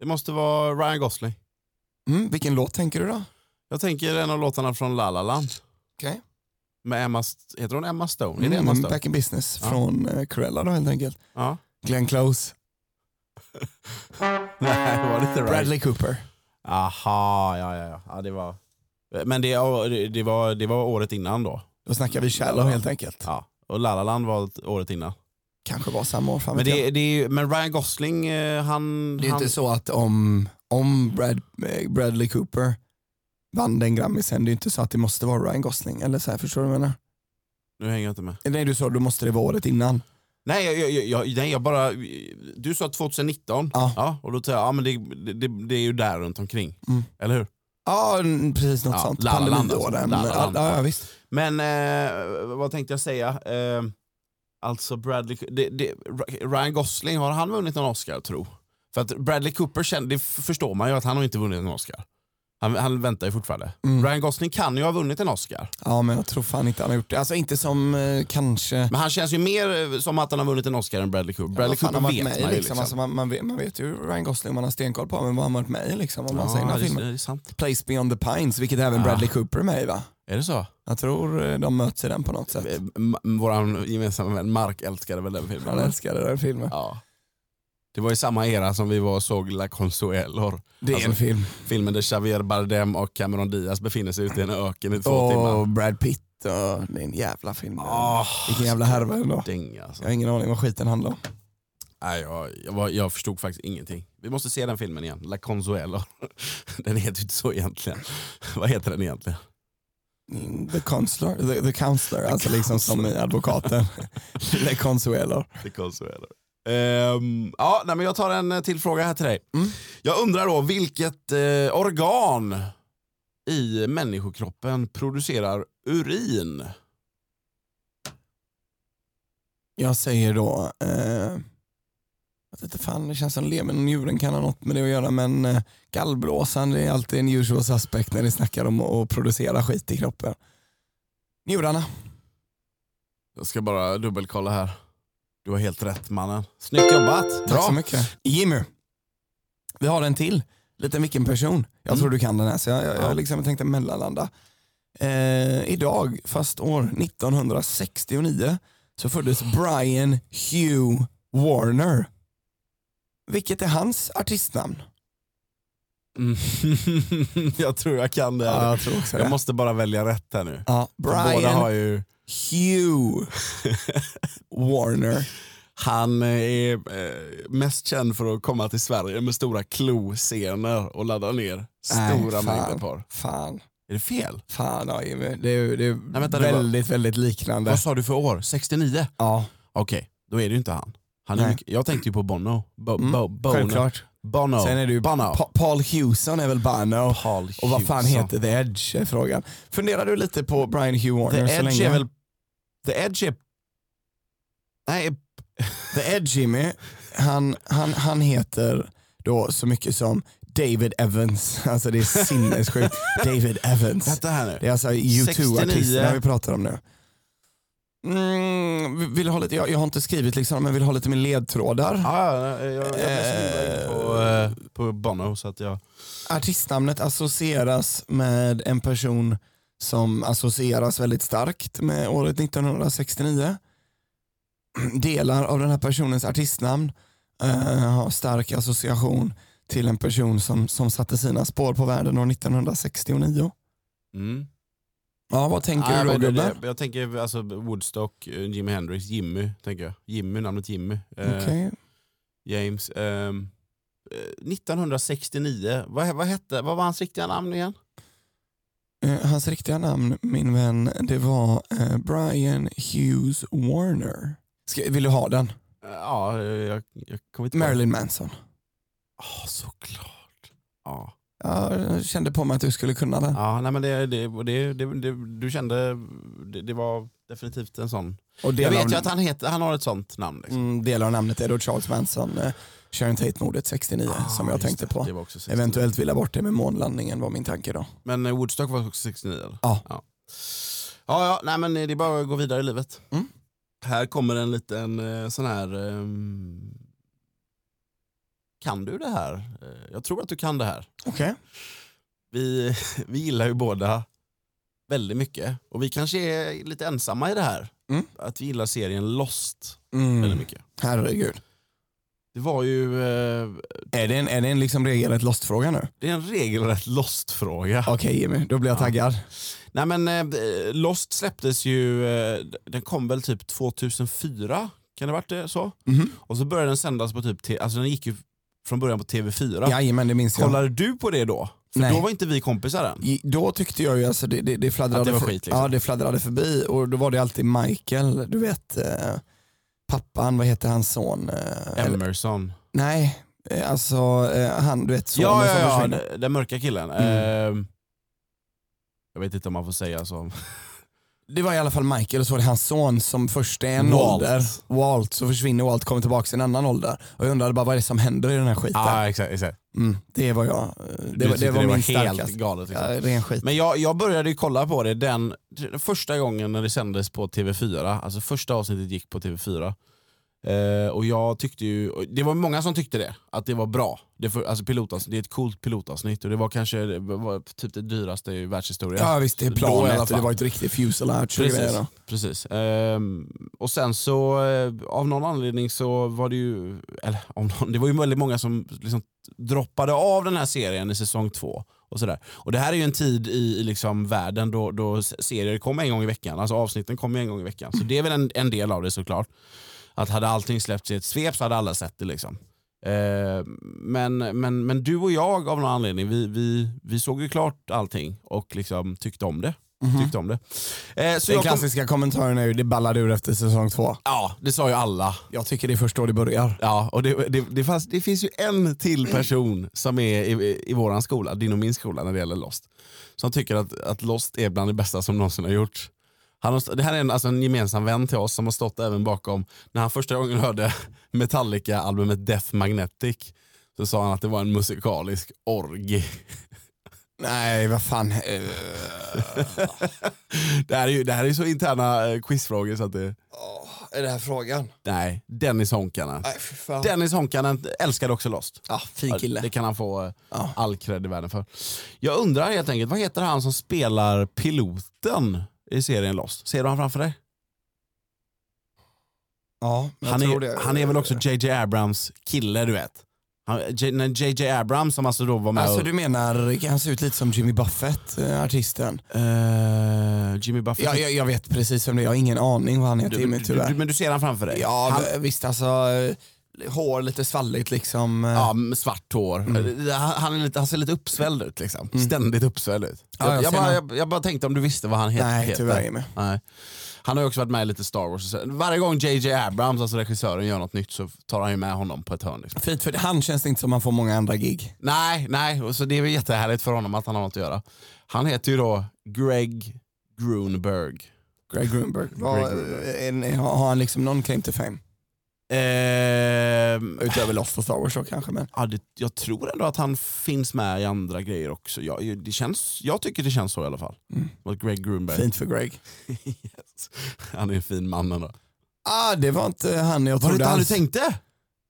Speaker 1: Det måste vara Ryan Gosling.
Speaker 2: Mm, vilken låt tänker du då?
Speaker 1: Jag tänker en av låtarna från La La Land.
Speaker 2: Okej.
Speaker 1: Med Emma, St- heter hon Emma Stone? är det Emma
Speaker 2: Mm,
Speaker 1: Stone?
Speaker 2: back in business
Speaker 1: Ja.
Speaker 2: från eh, Cruella då helt enkelt.
Speaker 1: Ja. (laughs)
Speaker 2: Glenn Close,
Speaker 1: Nej, det var lite right.
Speaker 2: Bradley Cooper.
Speaker 1: Aha, ja, ja, ja. ja det var... Men det, ja, det, det, var, det var året innan då.
Speaker 2: Då snackar vi Shallow helt enkelt.
Speaker 1: Ja. Och La La Land var året innan.
Speaker 2: Kanske var samma år, fan
Speaker 1: Men,
Speaker 2: vet jag.
Speaker 1: det, det är, ju- men Ryan Gosling, eh, han...
Speaker 2: det är
Speaker 1: han
Speaker 2: inte så att om, om Brad, eh, Bradley Cooper vann den Grammisen, det är inte så att det måste vara Ryan Gosling eller så här, förstår du vad jag menar?
Speaker 1: Nu hänger jag inte med.
Speaker 2: Nej du sa, då måste det vara året innan.
Speaker 1: Nej, jag, jag, jag- jag, nej, jag bara... Du sa 2019.
Speaker 2: Ja.
Speaker 1: Ja, och då säger jag, ja men det, det, det är ju där runt omkring.
Speaker 2: Mm.
Speaker 1: Eller hur?
Speaker 2: Ja, n- precis något
Speaker 1: Ja,
Speaker 2: sånt.
Speaker 1: La La Land
Speaker 2: Pandemiåren.
Speaker 1: alltså. La La
Speaker 2: Ja,
Speaker 1: Land.
Speaker 2: ja, visst.
Speaker 1: Men eh, vad tänkte jag säga? Eh, alltså Bradley... Det, det, Ryan Gosling, har han vunnit någon Oscar tro? För att Bradley Cooper, kände, det f- förstår man ju att han har inte vunnit en Oscar. Han, han väntar ju fortfarande.
Speaker 2: Mm.
Speaker 1: Ryan Gosling kan ju ha vunnit en Oscar.
Speaker 2: Ja, men jag tror fan inte han har gjort det. Alltså inte som eh, kanske...
Speaker 1: Men han känns ju mer eh, som att han har vunnit en Oscar än Bradley Cooper. Bradley
Speaker 2: vad fan
Speaker 1: Cooper vet
Speaker 2: han varit med i,
Speaker 1: man ju.
Speaker 2: liksom. Alltså, man, man, vet, man vet ju Ryan Gosling man har stenkoll på, men vad har han varit med i liksom? Om man
Speaker 1: Ja,
Speaker 2: säger den här
Speaker 1: det är-
Speaker 2: filmen.
Speaker 1: det är sant.
Speaker 2: Place Beyond the Pines, vilket även
Speaker 1: Ah.
Speaker 2: Bradley Cooper är med i va?
Speaker 1: Är det så?
Speaker 2: Jag tror eh, de möts i den på något sätt.
Speaker 1: Vår gemensamma vän Mark älskade väl den filmen?
Speaker 2: Han älskade den filmen.
Speaker 1: Ja. Det var i samma era som vi var och såg La Consuelor.
Speaker 2: det är
Speaker 1: alltså,
Speaker 2: en film.
Speaker 1: Filmen där Javier Bardem och Cameron Diaz befinner sig ute i en öken i två timmar.
Speaker 2: Och Brad Pitt och det är en jävla film.
Speaker 1: Ah,
Speaker 2: Vilken jävla härva ändå.
Speaker 1: dänga, alltså.
Speaker 2: Jag har ingen aning vad skiten handlar om.
Speaker 1: Nej, jag, jag, var, jag förstod faktiskt ingenting. Vi måste se den filmen igen. La Consuelor. (laughs) Den heter ju inte så egentligen. (laughs) Vad heter den egentligen?
Speaker 2: Mm, The Counselor, the, the counselor alltså liksom som i advokaten. Le Consuelo.
Speaker 1: La Consuelor. Ehm, ja, nej, men jag tar en eh, till fråga här till dig.
Speaker 2: Mm.
Speaker 1: Jag undrar då vilket eh, organ i människokroppen producerar urin?
Speaker 2: Jag säger då, eh, jag vet inte fan det känns som levern och njuren kan ha något med det att göra men eh, gallblåsan det är alltid en usual suspect när ni snackar om att producera skit i kroppen. Njurarna.
Speaker 1: Jag ska bara dubbelkolla här. Du har helt rätt mannen. Snyggt jobbat!
Speaker 2: Tack så mycket. Jimmy, vi har en till. Liten vilken person. Jag
Speaker 1: Mm.
Speaker 2: tror du kan den här så jag, jag,
Speaker 1: Ja.
Speaker 2: jag liksom tänkte mellanlanda. Eh, idag, fast år 1969, så föddes Brian Hugh Warner. Vilket är hans artistnamn?
Speaker 1: Mm. (laughs) jag tror jag kan det. här.
Speaker 2: tror också
Speaker 1: jag måste bara välja rätt här nu.
Speaker 2: ja,
Speaker 1: För Båda
Speaker 2: Brian
Speaker 1: har ju... (laughs)
Speaker 2: Hugh Warner.
Speaker 1: Han är eh, mest känd för att komma till Sverige med stora klo-scener och ladda ner stora
Speaker 2: fan.
Speaker 1: mängder porr.
Speaker 2: Fan,
Speaker 1: Är det fel?
Speaker 2: fan ja, Jimmy. Det är, det är
Speaker 1: vänta, det var-
Speaker 2: väldigt, väldigt liknande.
Speaker 1: Vad sa du för år? 69?
Speaker 2: Ja,
Speaker 1: Okej, då är det ju inte han. han är
Speaker 2: Nej.
Speaker 1: mycket, jag tänkte ju på Bono. Bo,
Speaker 2: Mm,
Speaker 1: bo, Bono.
Speaker 2: självklart.
Speaker 1: Bono.
Speaker 2: Sen är det ju
Speaker 1: Bono.
Speaker 2: Pa- Paul Hewson är väl Bono.
Speaker 1: Paul
Speaker 2: Och vad fan
Speaker 1: Hewson.
Speaker 2: heter The Edge är frågan. Funderar du lite på Brian Hugh
Speaker 1: The
Speaker 2: Warner så
Speaker 1: Edge
Speaker 2: länge?
Speaker 1: är väl... The Edge är... Nej,
Speaker 2: (laughs) The Edge Jimmy, han, han, han heter då så mycket som David Evans. Alltså det
Speaker 1: (laughs)
Speaker 2: är sinnessjukt. David Evans.
Speaker 1: vänta här nu.
Speaker 2: Det är alltså U2-artisterna
Speaker 1: 69.
Speaker 2: vi pratar om nu. Mm, vill du ha lite, jag, jag har inte skrivit liksom, men vill du ha lite med ledtrådar?
Speaker 1: Ja, ja, jag, jag blev så inblandad på, eh, på Bono så att jag...
Speaker 2: Artistnamnet associeras med en person som associeras väldigt starkt med året 1969. Delar av den här personens artistnamn eh, har stark association till en person som, som satte sina spår på världen år 1969.
Speaker 1: Mm.
Speaker 2: Ja, vad tänker
Speaker 1: Ah,
Speaker 2: du då
Speaker 1: men det-
Speaker 2: gubben?
Speaker 1: det- Jag tänker alltså Woodstock, eh, Jimi Hendrix, Jimmy tänker jag. Jimmy, namnet Jimmy. Eh,
Speaker 2: Okej.
Speaker 1: James. ehm, eh, 1969, vad, vad, hette, vad var hans riktiga namn igen?
Speaker 2: Eh, Hans riktiga namn, min vän, det var eh, Brian Hughes Warner. Ska, vill du ha den?
Speaker 1: Eh, Ja, eh, jag, jag kommer inte ihåg.
Speaker 2: Marilyn Manson.
Speaker 1: Ja, såklart. Ja,
Speaker 2: Jag kände på mig att du skulle kunna den.
Speaker 1: ja nej, men det, det, och det, det, det, du kände, det, det var definitivt en sån.
Speaker 2: Och
Speaker 1: Jag
Speaker 2: del
Speaker 1: vet
Speaker 2: av,
Speaker 1: ju att han, heter, han har ett sånt namn. Liksom.
Speaker 2: mm, del av namnet är då Charles Manson, eh, Sharon Tate-mordet 69 Mm, som
Speaker 1: Ah,
Speaker 2: jag
Speaker 1: just
Speaker 2: tänkte
Speaker 1: det.
Speaker 2: på.
Speaker 1: Det var också 69.
Speaker 2: Eventuellt villa bort det med månlandningen var min tanke då.
Speaker 1: Men eh, Woodstock var också 69 eller?
Speaker 2: Ja.
Speaker 1: ja. Ja, ja, nej men eh, det är bara att gå vidare i livet.
Speaker 2: Mm.
Speaker 1: Här kommer en liten eh, sån här... ehm, Kan du det här? Eh, Jag tror att du kan det här.
Speaker 2: Okej.
Speaker 1: Vi, (laughs) vi gillar ju båda väldigt mycket. Och vi kanske är lite ensamma i det här.
Speaker 2: Mm.
Speaker 1: Att vi gillar serien Lost
Speaker 2: Mm.
Speaker 1: väldigt mycket.
Speaker 2: Herregud.
Speaker 1: Det var ju... eh,
Speaker 2: Är det en, är det en liksom regelrätt lost-fråga nu?
Speaker 1: Det är en regelrätt Lost-fråga.
Speaker 2: Okej Jimmy, då blir jag
Speaker 1: Ja.
Speaker 2: taggad.
Speaker 1: Nej men eh, Lost släpptes ju, eh, den kom väl typ 2004? Kan det ha varit det så?
Speaker 2: Mhm.
Speaker 1: Och så började den sändas på typ, T- alltså den gick ju från början på TV4.
Speaker 2: Jajamän, det minns jag.
Speaker 1: Kollade du på det då? För
Speaker 2: Nej.
Speaker 1: då var inte vi kompisar än.
Speaker 2: I- Då tyckte jag ju alltså det, det, det fladdrade
Speaker 1: Att det var
Speaker 2: för-
Speaker 1: skit, liksom.
Speaker 2: ja, det fladdrade förbi och då var det alltid Michael, du vet eh, pappan, vad heter hans son? Eh, eller,
Speaker 1: Emerson.
Speaker 2: nej, eh, alltså eh, han, du vet sonen
Speaker 1: Ja,
Speaker 2: som
Speaker 1: ja, ja,
Speaker 2: försvinner.
Speaker 1: den- den mörka killen.
Speaker 2: Mm.
Speaker 1: Ehm, jag vet inte om man får säga så. (laughs)
Speaker 2: Det var i alla fall Michael och så var det hans son som först är en
Speaker 1: Walt.
Speaker 2: ålder, Walt, så försvinner Walt, kommer tillbaka i en annan ålder. Och jag undrade bara vad är det som händer i den här skiten?
Speaker 1: exakt. exakt.
Speaker 2: Mm, det var jag, eh, det,
Speaker 1: Du
Speaker 2: var,
Speaker 1: tyckte
Speaker 2: det var min
Speaker 1: helt
Speaker 2: starkaste.
Speaker 1: galet. Liksom.
Speaker 2: Ja, ren skit.
Speaker 1: Men jag, jag började ju kolla på det den, den första gången när det sändes på TV4. Alltså första avsnittet gick på TV4. Eh, och jag tyckte ju, och det var många som tyckte det, att det var bra. Det, för, alltså pilotavsnitt, det är ett coolt pilotavsnitt och det var kanske det var typ det dyraste i världshistorien.
Speaker 2: Ja visst, det är
Speaker 1: Då i
Speaker 2: planet,
Speaker 1: alla
Speaker 2: och det
Speaker 1: fall.
Speaker 2: var ett riktigt fuselage. och grejer
Speaker 1: Precis.
Speaker 2: då.
Speaker 1: precis. Ehm, och sen så, eh, av någon anledning så var det ju, eller av någon, det var ju väldigt många som liksom droppade av den här serien i säsong två. Och, sådär. och det här är ju en tid i, i liksom världen då, då s- serier kom en gång i veckan, alltså avsnitten kom en gång i veckan. Så det är väl en, en del av det såklart. Att hade allting släppts i ett svep så hade alla sett det. liksom. Eh, men, men, men du och jag av någon anledning, vi, vi, vi såg ju klart allting och liksom tyckte om det. Tyckte om det. Eh, så
Speaker 2: Den
Speaker 1: jag kom-
Speaker 2: klassiska kommentaren är ju det ballade ur efter säsong två.
Speaker 1: Ja, det sa ju alla.
Speaker 2: Jag tycker det är först då det börjar.
Speaker 1: Ja, och det, det, det, fanns, det finns ju en till person som är i, i våran skola, din och min skola när det gäller Lost, som tycker att, att Lost är bland det bästa som någonsin har gjorts. Han har, st- det här är en, alltså en gemensam vän till oss som har stått även bakom, när han första gången hörde (laughs) Metallica-albumet Death Magnetic så sa han att det var en musikalisk orgie.
Speaker 2: Nej, vad fan. eh,
Speaker 1: (laughs) Det här är ju det här är så interna eh, quizfrågor så att det...
Speaker 2: åh, är det här frågan?
Speaker 1: Nej, Dennis Honkanen.
Speaker 2: Nej, för fan.
Speaker 1: Dennis Honkanen älskade också Lost.
Speaker 2: Ja, fin
Speaker 1: Ja,
Speaker 2: kille.
Speaker 1: Det kan han få eh,
Speaker 2: Ja.
Speaker 1: all cred i världen för. Jag undrar helt enkelt, vad heter han som spelar piloten i serien Lost? Ser du han framför dig?
Speaker 2: Ja, men jag
Speaker 1: Han
Speaker 2: tror
Speaker 1: är,
Speaker 2: det.
Speaker 1: han är väl också JJ Abrams kille du vet? Han- J- när JJ Abrams som alltså då var med
Speaker 2: Alltså
Speaker 1: och,
Speaker 2: du menar, han ser ut lite som Jimmy Buffett, eh, artisten.
Speaker 1: Eh, Jimmy Buffett.
Speaker 2: Ja, jag, jag vet precis vem det är, jag har ingen aning vad han heter
Speaker 1: du,
Speaker 2: Jimmy
Speaker 1: du,
Speaker 2: tyvärr.
Speaker 1: du, men du ser han framför dig?
Speaker 2: Ja,
Speaker 1: han,
Speaker 2: men visst alltså. eh, Hår lite svalligt liksom. eh.
Speaker 1: ja, med svart hår.
Speaker 2: Mm.
Speaker 1: Eh, Han, han, är lite, han ser lite uppsvälld ut liksom. Ständigt uppsvälld ut.
Speaker 2: Ja,
Speaker 1: jag,
Speaker 2: jag
Speaker 1: jag,
Speaker 2: ser
Speaker 1: bara,
Speaker 2: han.
Speaker 1: jag, jag bara tänkte om du visste vad han het,
Speaker 2: Nej,
Speaker 1: heter.
Speaker 2: tyvärr Jimmy.
Speaker 1: Nej. Han har ju också varit med i lite Star Wars. och så- Varje gång JJ Abrams, alltså regissören, gör något nytt så tar han ju med honom på ett hörn. Liksom.
Speaker 2: Fint, för han känns inte som han får många andra gig.
Speaker 1: Nej, nej, och så det är väl jättehärligt för honom att han har något att göra. Han heter ju då Greg Grunberg.
Speaker 2: Greg Grunberg. Vad- eh,
Speaker 1: Grunberg.
Speaker 2: en- Har har han liksom någon claim to fame?
Speaker 1: Ehm,
Speaker 2: Utöver Lost och Star Wars då kanske. Men.
Speaker 1: ja, det, jag tror ändå att han finns med i andra grejer också. Jag, det känns, jag tycker det känns så i alla fall.
Speaker 2: Mm.
Speaker 1: Att Greg Grunberg,
Speaker 2: Fint för Greg.
Speaker 1: (laughs) yes. han är en fin man ändå.
Speaker 2: Ah, det var inte han jag
Speaker 1: Var det
Speaker 2: trodde.
Speaker 1: inte han du
Speaker 2: alls.
Speaker 1: tänkte?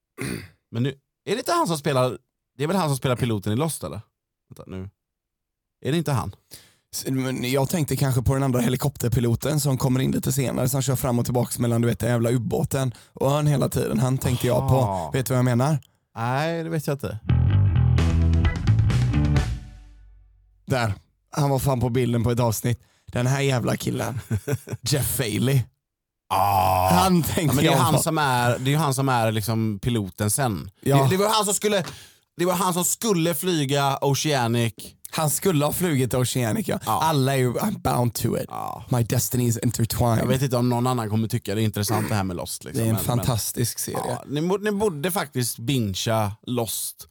Speaker 1: (clears throat) Men nu, är det inte han som spelar, det är väl han som spelar piloten i Lost eller? Vänta, nu. Är det inte han?
Speaker 2: Men jag tänkte kanske på den andra helikopterpiloten som kommer in lite senare som kör fram och tillbaks mellan du vet, den jävla ubåten och ön hela tiden. Han tänkte jag
Speaker 1: Aha.
Speaker 2: på. Vet du vad jag menar?
Speaker 1: Nej, det vet jag inte.
Speaker 2: Där. Han var fan på bilden på ett avsnitt. Den här
Speaker 1: (laughs)
Speaker 2: jävla killen. Jeff Bailey.
Speaker 1: Ah.
Speaker 2: Han
Speaker 1: Ja,
Speaker 2: tänkte
Speaker 1: men det är ju
Speaker 2: jag på.
Speaker 1: han som är, det är, ju han som är liksom piloten sen.
Speaker 2: Ja.
Speaker 1: Det, det var han som skulle det var han som skulle flyga Oceanic.
Speaker 2: Han skulle ha flugit till Oceanica.
Speaker 1: Ja.
Speaker 2: Alla är ju I'm bound to it.
Speaker 1: Ja.
Speaker 2: My destiny is intertwined.
Speaker 1: Jag vet inte om någon annan kommer tycka det är intressant det här med Lost.
Speaker 2: det
Speaker 1: Liksom.
Speaker 2: är en
Speaker 1: Men-
Speaker 2: fantastisk serie.
Speaker 1: men, ja, ni, borde- ni borde faktiskt bincha Lost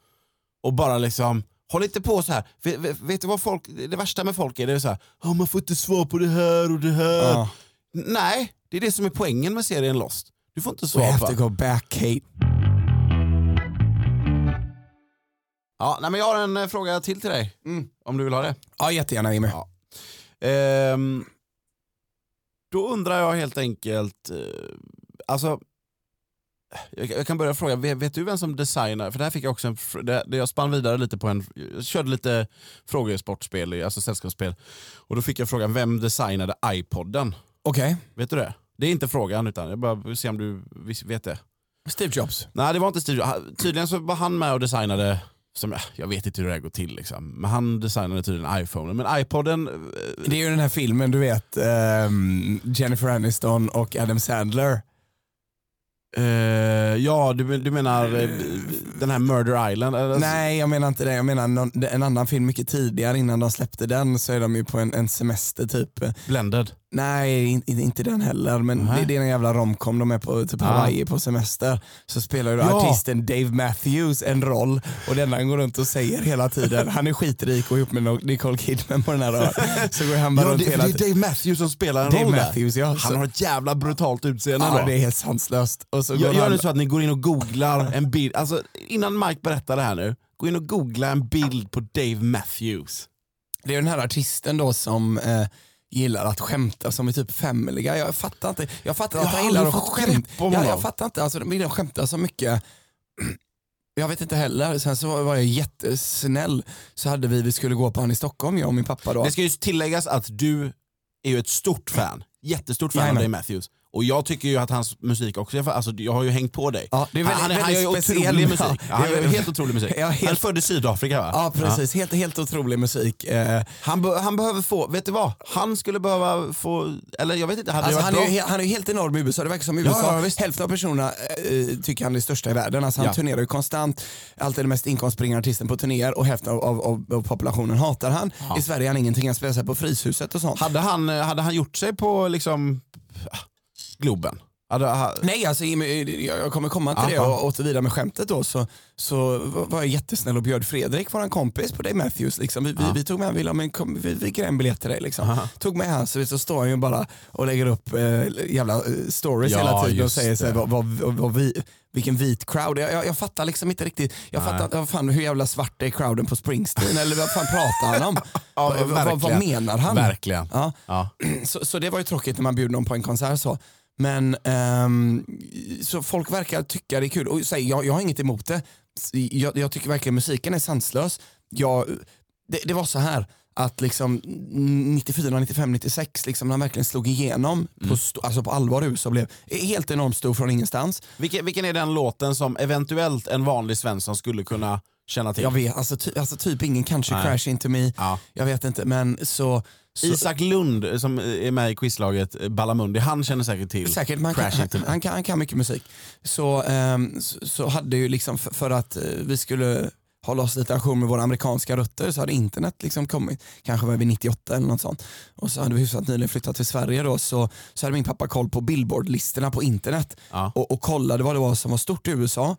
Speaker 1: och bara liksom Håll inte på så här. Vet, vet, vet du vad folk, det värsta med folk är? Det är så här, "Ja, man får inte svar på det här och det här.
Speaker 2: Ja.
Speaker 1: Nej, det är det som är poängen med serien Lost. Du får inte
Speaker 2: We
Speaker 1: svar på
Speaker 2: have to go back Kate.
Speaker 1: Ja, nej, men jag har en eh, fråga till till dig. Om du vill ha det.
Speaker 2: Ja jättegärna Jimmy.
Speaker 1: Ja. Ehm, då undrar jag helt enkelt, eh, alltså, jag, jag kan börja fråga, vet, vet du vem som designar, för det här fick jag också en, fr- det, det jag spann vidare lite på en, jag körde lite frågor i sportspel, alltså sällskapsspel, och då fick jag frågan vem designade iPodden?
Speaker 2: Okej.
Speaker 1: Vet du det? Det är inte frågan utan jag bara vill se om du vis- vet det.
Speaker 2: Steve Jobs.
Speaker 1: Nej det var inte Steve Jobs. Han- Tydligen så var han med och designade, som, jag- jag vet inte hur det här går till liksom, men han designade tydligen iPhonen. Men iPoden, eh,
Speaker 2: Det är ju den här filmen du vet, ehm, Jennifer Aniston och Adam Sandler.
Speaker 1: Alltså- Eh, ja, du, men- du menar eh, den här Murder Island? eller?
Speaker 2: Nej jag menar inte det, jag menar någon, en annan film mycket tidigare innan de släppte den så är de ju på en, en semester typ.
Speaker 1: Blended?
Speaker 2: Nej, in, in- inte den heller. Men
Speaker 1: Nej.
Speaker 2: det, det är en jävla romcom. De är på typ
Speaker 1: Ja.
Speaker 2: Hawaii på semester. Så spelar ju då
Speaker 1: Ja.
Speaker 2: artisten Dave Matthews en roll och denna går runt och säger hela tiden. Han är skitrik och ihop med no- Nicole Kidman på den
Speaker 1: (laughs)
Speaker 2: här ön. Så går han bara
Speaker 1: Ja, det,
Speaker 2: runt
Speaker 1: det
Speaker 2: hela
Speaker 1: är
Speaker 2: tiden.
Speaker 1: Dave Matthews som spelar en
Speaker 2: Dave
Speaker 1: roll
Speaker 2: Matthews, ja.
Speaker 1: där. Han har ett jävla brutalt utseende
Speaker 2: Ja,
Speaker 1: då.
Speaker 2: det är helt sanslöst. Och så
Speaker 1: Gör,
Speaker 2: går
Speaker 1: gör nu
Speaker 2: han,
Speaker 1: så att ni går in och googlar en bild, alltså innan Mike berättar det här nu, gå in och googla en bild på Dave Matthews.
Speaker 2: det är den här artisten då som eh, gillar att skämta som är typ Family Guy. Jag fattar inte. Jag fattar
Speaker 1: Jag
Speaker 2: att han
Speaker 1: har
Speaker 2: gillar att
Speaker 1: aldrig fått grepp
Speaker 2: skämta.
Speaker 1: om
Speaker 2: Ja, jag
Speaker 1: honom.
Speaker 2: fattar inte. Alltså, de de skämtar så mycket. (clears throat) Jag vet inte heller. Sen så var var jag jättesnäll. Så hade vi, vi skulle gå på han i Stockholm, jag och min pappa då.
Speaker 1: Det ska ju tilläggas att du är ju ett stort fan, jättestort fan av
Speaker 2: Jajamän.
Speaker 1: Dave Matthews. Och jag tycker ju att hans musik också, är fa- alltså, jag har ju hängt på dig.
Speaker 2: Ja, det är väldigt-
Speaker 1: han, han, han gör ju
Speaker 2: väldigt
Speaker 1: otrolig
Speaker 2: speciell-
Speaker 1: musik.
Speaker 2: Ja,
Speaker 1: han
Speaker 2: det är-
Speaker 1: gör ju helt otrolig musik.
Speaker 2: Ja, helt-
Speaker 1: Han är född i Sydafrika va?
Speaker 2: Ja precis, Helt, helt otrolig musik. Eh,
Speaker 1: Han, be- han behöver få, vet du vad? Han skulle behöva få, eller jag vet inte, hade
Speaker 2: Alltså,
Speaker 1: det
Speaker 2: han,
Speaker 1: varit
Speaker 2: är ju,
Speaker 1: bra?
Speaker 2: he- han är ju helt enorm i USA, det verkar som i
Speaker 1: Ja,
Speaker 2: USA.
Speaker 1: ja, visst.
Speaker 2: Hälften av personerna eh, tycker han är störst i världen. Alltså, han
Speaker 1: Ja.
Speaker 2: turnerar ju konstant, alltid den mest inkomstbringande artisten på turnéer och hälften av, av, av, av populationen hatar han. I Sverige är han ingenting, han spelar sig på Fryshuset och sånt.
Speaker 1: Hade han, eh, hade han gjort sig på liksom ah, Globen? Hade, ha,
Speaker 2: Nej, alltså, Jimmy, eh, jag jag kommer komma till
Speaker 1: Ja,
Speaker 2: det
Speaker 1: fan.
Speaker 2: och återvida med skämtet då så, så var var jag jättesnäll och bjöd Fredrik, våran kompis på dig Matthews. Liksom. Vi, vi, vi tog med han, vi, la- men kom, vi, vi grävde en biljett till dig. Liksom. Tog med han, så, så står han ju bara och lägger upp eh, jävla eh, stories
Speaker 1: Ja,
Speaker 2: hela tiden och
Speaker 1: just
Speaker 2: säger så här, vad, vad, vad vi, vilken vit crowd. Jag, jag, jag fattar liksom inte riktigt, jag fattar inte, vad fan, hur jävla svart är crowden på Springsteen eller vad fan pratar han om?
Speaker 1: (laughs) Ja,
Speaker 2: vad, vad, vad
Speaker 1: verkligen.
Speaker 2: menar han?
Speaker 1: Verkligen.
Speaker 2: Ja.
Speaker 1: Ja.
Speaker 2: Så, så det var ju tråkigt när man bjöd någon på en konsert så. Men ehm, så folk verkar tycka det är kul. Och så här, jag, jag har inget emot det. S- Jag, jag tycker verkligen musiken är sanslös. Jag, det, det var så här att liksom 94, 95, 96 liksom när han verkligen slog igenom
Speaker 1: Mm.
Speaker 2: på, sto- alltså på allvar i USA blev e, helt enormt stor från ingenstans.
Speaker 1: Vilken, vilken är den låten som eventuellt en vanlig svensson skulle kunna känna till?
Speaker 2: Jag vet, alltså, ty, alltså typ ingen kanske
Speaker 1: Nej.
Speaker 2: crash into me.
Speaker 1: Ja.
Speaker 2: Jag vet inte men så, så
Speaker 1: Isak Lund eh, som är med i quizlaget eh, Ballamundi, han känner säkert till
Speaker 2: Säkert, man kan,
Speaker 1: Mm. Crash
Speaker 2: han,
Speaker 1: Into Me.
Speaker 2: han, kan, han kan mycket musik. Så, ehm, så, så hade ju liksom för, för att eh, vi skulle hålla oss lite ajour med våra amerikanska rötter så hade internet liksom kommit. Kanske var vi 98 eller något sånt. Och så hade vi hyfsat nyligen flyttat till Sverige då så, så hade min pappa koll på billboardlistorna på internet
Speaker 1: Ja.
Speaker 2: och, och kollade vad det var som var stort i USA